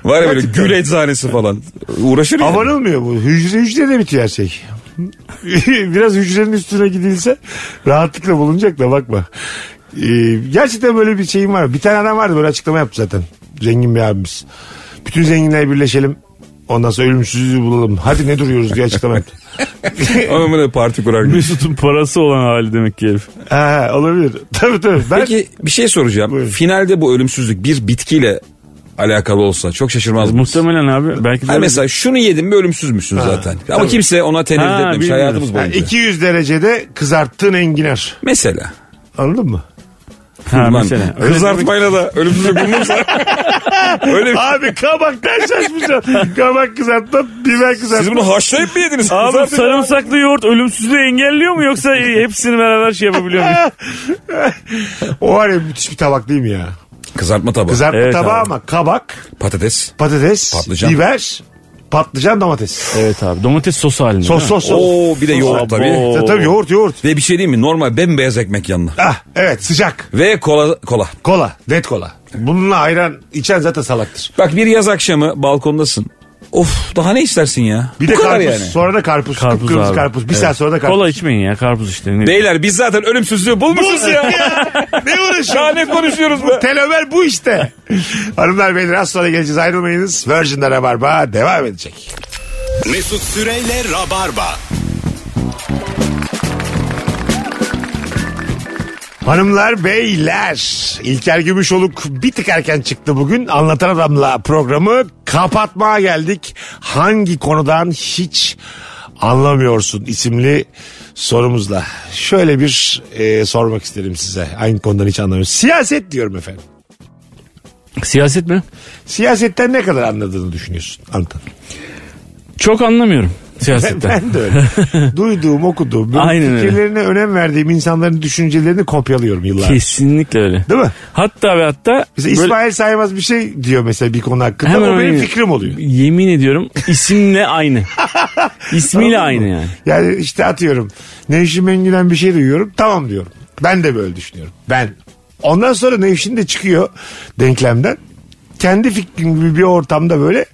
S5: Var ya böyle gül eczanesi falan. Uğraşır ya.
S3: Abone olmuyor bu. Hücre hücre de bitiyor her şey. Biraz hücrenin üstüne gidilse rahatlıkla bulunacak da bakma. Ee, gerçekten böyle bir şeyim var. Bir tane adam vardı böyle açıklama yaptı zaten. Zengin bir abimiz. Bütün zenginler birleşelim. Ondan sonra ölümsüzlüğü bulalım. Hadi ne duruyoruz diye açıklama yaptı.
S5: Ama böyle parti kurar gibi.
S4: Mesut'un parası olan hali demek ki herif.
S3: Ha, olabilir. Tabii tabii. Ben
S5: Peki bir şey soracağım.
S3: Buyurun.
S5: Finalde bu ölümsüzlük bir bitkiyle alakalı olsa çok şaşırmaz mısın?
S4: Muhtemelen abi. Belki de
S5: Ha mesela şunu yedim mi ölümsüz müsün zaten. Ama kimse ona tenezzül
S4: Ha,
S5: etmemiş
S4: bilmiyorum.
S5: hayatımız
S3: Ha,
S5: boyunca.
S3: 200 derecede kızarttığın enginar.
S5: Mesela.
S3: Anladın mı?
S4: ha,
S5: Ulan
S4: mesela. Öyle
S5: kızartmayla da ölümsüzlük bulunursa. öyle bir-
S3: Abi kabaktan şaşmışlar. Kabak kızartma, biber
S5: Siz
S3: kızartma.
S5: bunu haşlayıp mı yediniz?
S4: Abi
S5: Kızartın-
S4: sarımsaklı yoğurt ölümsüzlüğü engelliyor mu yoksa hepsini beraber şey yapabiliyor muyuz?
S3: O var ya müthiş bir tabak değil mi ya?
S5: Kızartma tabağı.
S3: Kızartma
S4: Evet
S3: tabağı
S4: abi.
S3: ama kabak,
S5: Patates.
S3: patates,
S5: Patlıcan.
S3: biber, patlıcan, domates.
S4: Evet abi domates sos halinde.
S3: Sos sos sos.
S5: Oo bir de yoğurt tabii.
S4: Abo.
S3: Ya Tabii yoğurt yoğurt.
S5: Ve bir şey diyeyim mi? Normal bembeyaz ekmek yanına.
S3: Ah, evet sıcak.
S5: Ve kola kola.
S3: Kola. Net kola. Bununla ayran içen zaten salaktır.
S5: Bak bir yaz akşamı balkondasın. Of daha ne istersin ya?
S3: Bir
S5: Bu
S3: de
S5: kadar
S3: karpuz.
S5: yani.
S3: Sonra da karpuz.
S4: Karpuz
S3: Kıpkırmızı
S4: abi.
S3: karpuz. Bir
S4: Evet.
S3: saat sonra da karpuz.
S4: Kola içmeyin ya karpuz işte. Ne-
S5: Beyler biz zaten ölümsüzlüğü bulmuşuz ya.
S3: ne uğraşıyorsun?
S5: Şahane konuşuyoruz be.
S3: Telomer bu işte. Hanımlar beyler az sonra geleceğiz ayrılmayınız. Virgin'de Rabarba devam edecek.
S2: Mesut Süreyle Rabarba.
S3: Hanımlar beyler İlker Gümüşoluk bir tık erken çıktı bugün. Anlatan Adam'la programı kapatmaya geldik. Hangi konudan hiç anlamıyorsun isimli sorumuzla. Şöyle bir e, sormak isterim size. Hangi konudan hiç anlamıyorsun? Siyaset diyorum efendim.
S4: Siyaset mi?
S3: Siyasetten ne kadar anladığını düşünüyorsun Anlatan?
S4: Çok anlamıyorum
S3: Ben,
S4: siyasetten.
S3: ben de öyle. Duyduğum, okuduğum, böyle
S4: Aynen öyle.
S3: fikirlerine önem verdiğim insanların düşüncelerini kopyalıyorum yıllardır.
S4: Kesinlikle öyle.
S3: Değil mi?
S4: Hatta ve hatta
S3: Mesela
S4: böyle-
S3: İsmail Saymaz bir şey diyor mesela bir konu hakkında.
S4: Hemen
S3: o benim
S4: aynı.
S3: fikrim oluyor.
S4: yemin ediyorum isimle aynı. İsmiyle aynı yani.
S3: Yani işte atıyorum. Nevşin Mengü'den bir şey duyuyorum. Tamam diyorum. Ben de böyle düşünüyorum. Ben. Ondan sonra Nevşin de çıkıyor denklemden. Kendi fikrim gibi bir ortamda böyle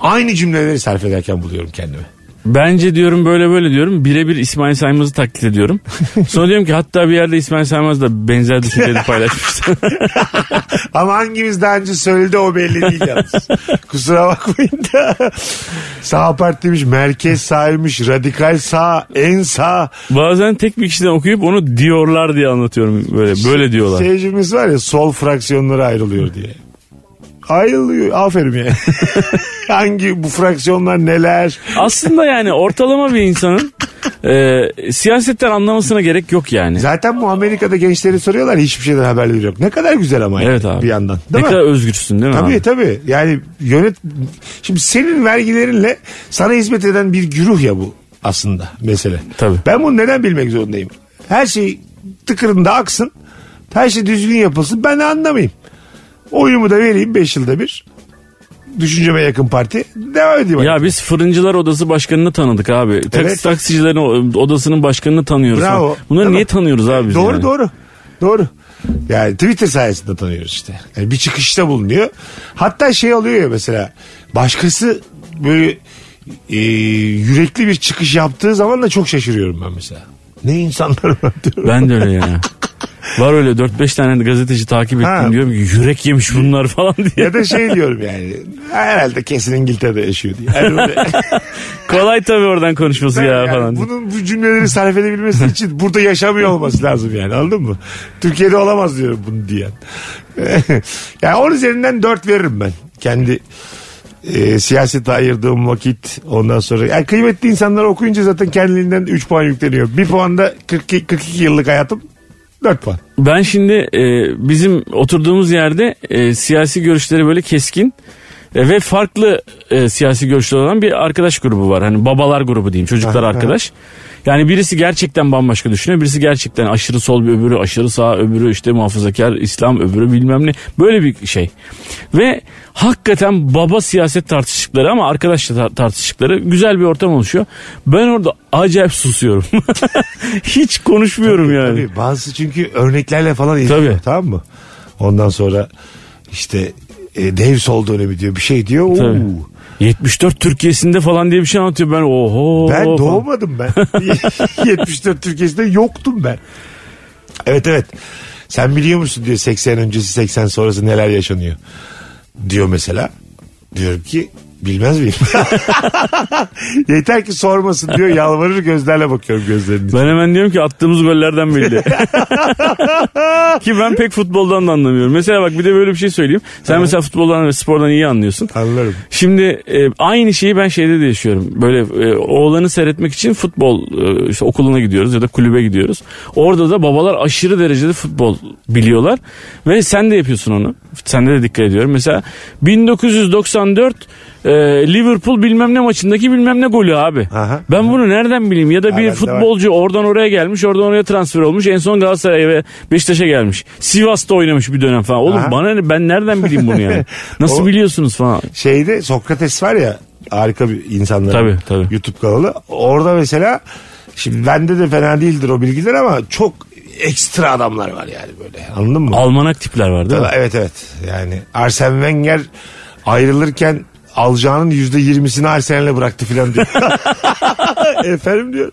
S3: aynı cümleleri sarf ederken buluyorum kendimi.
S4: Bence diyorum böyle böyle diyorum. Birebir İsmail Saymaz'ı taklit ediyorum. Sonra diyorum ki hatta bir yerde İsmail Saymaz da benzer düşünceleri paylaşmıştı.
S3: Ama hangimiz daha önce söyledi o belli değil yalnız. Kusura bakmayın da. Sağ partiymiş, merkez sağymış, radikal sağ, en sağ.
S4: Bazen tek bir kişiden okuyup onu diyorlar diye anlatıyorum böyle. Böyle diyorlar.
S3: Seyircimiz var ya sol fraksiyonlara ayrılıyor diye. Ayrılıyor. Aferin ya. Hangi bu fraksiyonlar neler?
S4: Aslında yani ortalama bir insanın e, siyasetten anlamasına gerek yok yani.
S3: Zaten bu Amerika'da gençleri soruyorlar hiçbir şeyden haberleri yok. Ne kadar güzel ama yani
S4: Evet abi.
S3: bir yandan. Değil
S4: ne
S3: mi?
S4: kadar özgürsün değil mi
S3: Tabii
S4: abi?
S3: tabii. Yani yönet şimdi senin vergilerinle sana hizmet eden bir güruh ya bu aslında mesele.
S4: Tabii.
S3: Ben bunu neden bilmek zorundayım? Her şey tıkırında aksın. Her şey düzgün yapılsın. Ben de anlamayayım. Oyumu da vereyim 5 yılda bir. düşünceme yakın parti. Devam edeyim.
S4: Ya
S3: hadi.
S4: biz fırıncılar odası başkanını tanıdık abi. Taksi-
S3: şey. Evet.
S4: Taksicilerin o- odasının başkanını tanıyoruz.
S3: Bravo.
S4: Bunları
S3: Tamam.
S4: niye tanıyoruz abi biz
S3: doğru
S4: yani?
S3: doğru. Doğru. Yani Twitter sayesinde tanıyoruz işte. Yani bir çıkışta bulunuyor. Hatta şey oluyor ya mesela başkası böyle e, yürekli bir çıkış yaptığı zaman da çok şaşırıyorum ben mesela. Ne insanlar var diyorum.
S4: Ben de öyle ya. Var öyle 4-5 tane gazeteci takip ettim
S3: Ha.
S4: diyorum ki yürek yemiş bunlar falan diye.
S3: Ya da şey diyorum yani herhalde kesin İngiltere'de yaşıyor diye. Yani böyle-
S4: Kolay tabii oradan konuşması ya
S3: Yani
S4: falan. diye.
S3: Bunun bu cümleleri sarf edebilmesi için burada yaşamıyor olması lazım yani anladın mı? Türkiye'de olamaz diyorum bunu diyen. yani onun üzerinden 4 veririm ben. Kendi e, siyasete ayırdığım vakit ondan sonra. Yani kıymetli insanlar okuyunca zaten kendiliğinden 3 puan yükleniyor. 1 puan da 42, 42 yıllık hayatım 4 puan.
S4: Ben şimdi e, bizim oturduğumuz yerde e, siyasi görüşleri böyle keskin e, ve farklı e, siyasi görüşleri olan bir arkadaş grubu var. Hani babalar grubu diyeyim çocuklar
S3: Aha,
S4: arkadaş. Yani birisi gerçekten bambaşka düşünüyor. Birisi gerçekten aşırı sol bir öbürü aşırı sağ öbürü işte muhafazakar İslam öbürü bilmem ne. Böyle bir şey. Ve hakikaten baba siyaset tartıştıkları ama arkadaşla tar- tartıştıkları güzel bir ortam oluşuyor. Ben orada acayip susuyorum. Hiç konuşmuyorum yani.
S3: Tabii bazısı çünkü örneklerle falan izliyor
S4: Tabii.
S3: tamam mı? Ondan sonra işte e, dev sol dönemi diyor bir şey diyor. Oo.
S4: Tabii. 74 Türkiye'sinde falan diye bir şey anlatıyor. Ben oho.
S3: Ben
S4: falan.
S3: doğmadım ben. 74 Türkiye'sinde yoktum ben. Evet evet. Sen biliyor musun diyor 80 öncesi 80 sonrası neler yaşanıyor. Diyor mesela. Diyorum ki bilmez miyim? Yeter ki sormasın diyor yalvarır gözlerle bakıyorum gözlerinin. içine.
S4: Ben hemen diyorum ki attığımız gollerden belli. ki ben pek futboldan da anlamıyorum. Mesela bak bir de böyle bir şey söyleyeyim. Sen mesela futboldan ve spordan iyi anlıyorsun.
S3: Anlarım.
S4: Şimdi e, aynı şeyi ben şeyde de yaşıyorum. Böyle e, oğlanı seyretmek için futbol e, işte okuluna gidiyoruz ya da kulübe gidiyoruz. Orada da babalar aşırı derecede futbol biliyorlar ve sen de yapıyorsun onu. Sende de dikkat ediyorum. Mesela 1994 e, Liverpool bilmem ne maçındaki bilmem ne golü abi.
S3: Aha.
S4: Ben bunu nereden bileyim ya da
S3: bende
S4: bir
S3: var.
S4: futbolcu oradan oraya gelmiş, oradan oraya transfer olmuş. En son Galatasaray'a ve Beşiktaş'a gelmiş. Sivas'ta oynamış bir dönem falan. Oğlum
S3: Aha.
S4: bana ne- ben nereden bileyim bunu yani? Nasıl
S3: O-
S4: biliyorsunuz falan?
S3: Şeyde Sokrates var ya harika bir insanlar.
S4: Tabii, tabii.
S3: YouTube kanalı. Orada mesela şimdi bende de fena değildir o bilgiler ama çok ekstra adamlar var yani böyle. Anladın mı?
S4: Almanak tipler var değil mi?
S3: Evet evet. Yani Arsene Wenger ayrılırken alacağının yüzde yirmisini Arsene'le bıraktı filan diyor. Efendim diyor.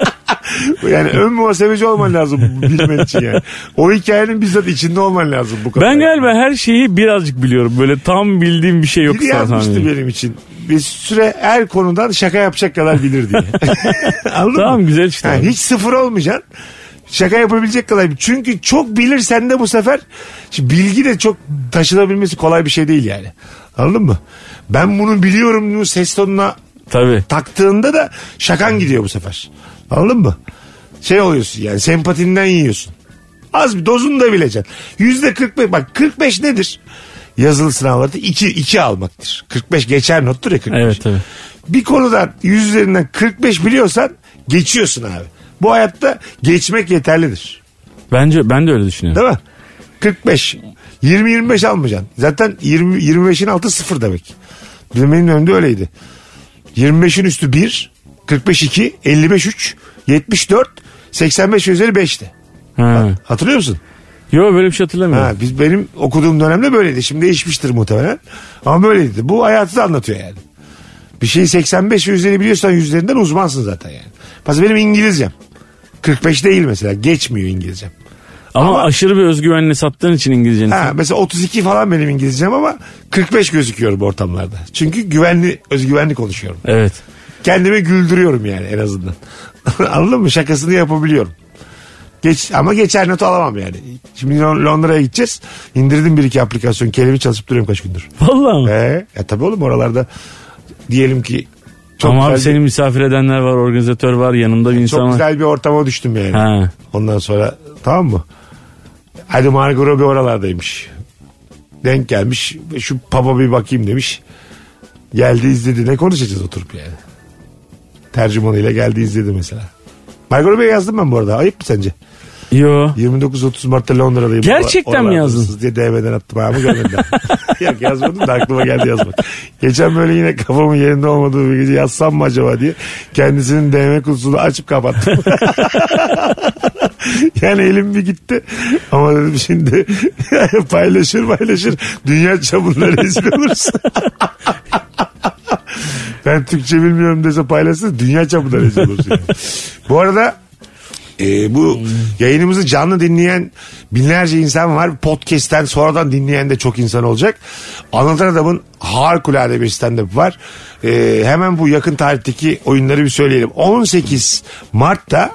S3: yani ön muhasebeci olman lazım bu- bilmen için yani. O hikayenin bizzat içinde olman lazım bu kadar.
S4: Ben galiba her şeyi birazcık biliyorum. Böyle tam bildiğim bir şey yok.
S3: Biri
S4: zaten.
S3: yazmıştı benim için. Bir süre her konudan şaka yapacak kadar bilir diye. Anladın mı?
S4: Tamam güzel işte.
S3: Ha, hiç sıfır olmayacaksın. Şaka yapabilecek kadar. Çünkü çok bilirsen de bu sefer şimdi bilgi de çok taşınabilmesi kolay bir şey değil yani. Anladın mı? Ben bunu biliyorum bunu ses tonuna
S4: Tabii.
S3: taktığında da şakan gidiyor bu sefer. Anladın mı? Şey oluyorsun yani sempatinden yiyorsun. Az bir dozunu da bileceksin. Yüzde 45 bak 45 nedir? Yazılı sınavlarda 2, 2 almaktır. 45 geçer nottur ya 45.
S4: Evet tabii.
S3: Bir konudan yüz üzerinden 45 biliyorsan geçiyorsun abi. Bu hayatta geçmek yeterlidir.
S4: Bence ben de öyle düşünüyorum.
S3: Değil mi? 45. 20-25 almayacaksın. Zaten 20, 25'in altı sıfır demek. Bizim benim önümde öyleydi. 25'in üstü 1, 45 2, 55 3, 74, 85 üzeri 5'ti.
S4: Ha.
S3: Hatırlıyor musun?
S4: Yo böyle bir şey hatırlamıyorum.
S3: Ha, biz benim okuduğum dönemde böyleydi. Şimdi değişmiştir muhtemelen. Ama böyleydi. Bu hayatı da anlatıyor yani. Bir şeyi 85 ve üzeri biliyorsan yüzlerinden uzmansın zaten yani. Mesela benim İngilizcem. 45 değil mesela. Geçmiyor İngilizcem.
S4: ama,
S3: ama-
S4: aşırı bir özgüvenle sattığın için İngilizceni.
S3: Ha, mesela 32 falan benim İngilizcem ama 45 gözüküyorum ortamlarda. Çünkü güvenli, özgüvenli konuşuyorum.
S4: Evet.
S3: Kendimi güldürüyorum yani en azından. Anladın mı? Şakasını yapabiliyorum. Geç, ama geçer not alamam yani. Şimdi Lon- Londra'ya gideceğiz. İndirdim bir iki aplikasyon. Kelimi çalışıp duruyorum kaç gündür.
S4: Vallahi mi?
S3: Ee, ya tabii oğlum oralarda diyelim ki çok
S4: ama
S3: güzel
S4: abi
S3: bir-
S4: seni misafir edenler var, organizatör var, yanında bir
S3: çok
S4: insan var.
S3: güzel bir ortama düştüm yani.
S4: Ha.
S3: Ondan sonra tamam mı? Hadi Margot Robbie oralardaymış. Denk gelmiş. Şu pub'a bir bakayım demiş. Geldi izledi. Ne konuşacağız oturup yani? Tercümanıyla geldi izledi mesela. Margot Robbie'ye yazdım ben bu arada. Ayıp mı sence?
S4: Yo.
S3: 29-30 Mart'ta Londra'dayım.
S4: Gerçekten mi
S3: Oralarda
S4: yazdın?
S3: mısınız diye DM'den attım abi görmedim. Yok yazmadım da aklıma geldi yazmak. Geçen böyle yine kafamın yerinde olmadığı bir gece yazsam mı acaba diye kendisinin DM kutusunu açıp kapattım. yani elim bir gitti ama dedim şimdi paylaşır paylaşır dünya çapında rezil olursun. ben Türkçe bilmiyorum dese paylaşsın dünya çapında rezil olursun. yani. Bu arada e, bu yayınımızı canlı dinleyen binlerce insan var. Podcast'ten sonradan dinleyen de çok insan olacak. Anlatan Adam'ın harikulade bir stand-up var. E, hemen bu yakın tarihteki oyunları bir söyleyelim. 18 Mart'ta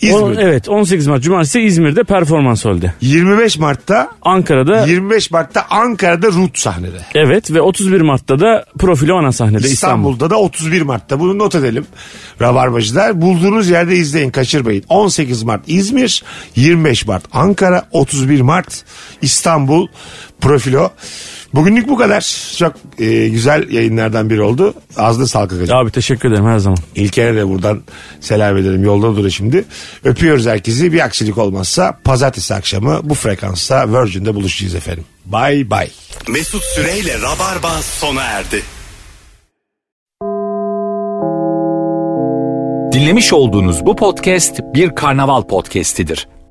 S3: İzmir.
S4: On- evet 18 Mart Cumartesi İzmir'de performans oldu.
S3: 25 Mart'ta
S4: Ankara'da
S3: 25 Mart'ta Ankara'da Rut sahnede.
S4: evet ve 31 Mart'ta da Profilo ana sahnede İstanbul.
S3: İstanbul'da da 31 Mart'ta. Bunu not edelim. Rabarbacılar bulduğunuz yerde izleyin kaçırmayın. 18 Mart İzmir, 25 Mart Ankara, 31 Mart İstanbul profilo. Bugünlük bu kadar. Çok e, güzel yayınlardan biri oldu. Ağzına sağlık hocam.
S4: Abi teşekkür ederim her zaman.
S3: İlker'e de buradan selam edelim. Yolda dur şimdi. Öpüyoruz herkesi. Bir aksilik olmazsa pazartesi akşamı bu frekansta Virgin'de buluşacağız efendim. Bay bay.
S2: Mesut Süreyle Rabarba sona erdi.
S1: Dinlemiş olduğunuz bu podcast bir karnaval podcastidir.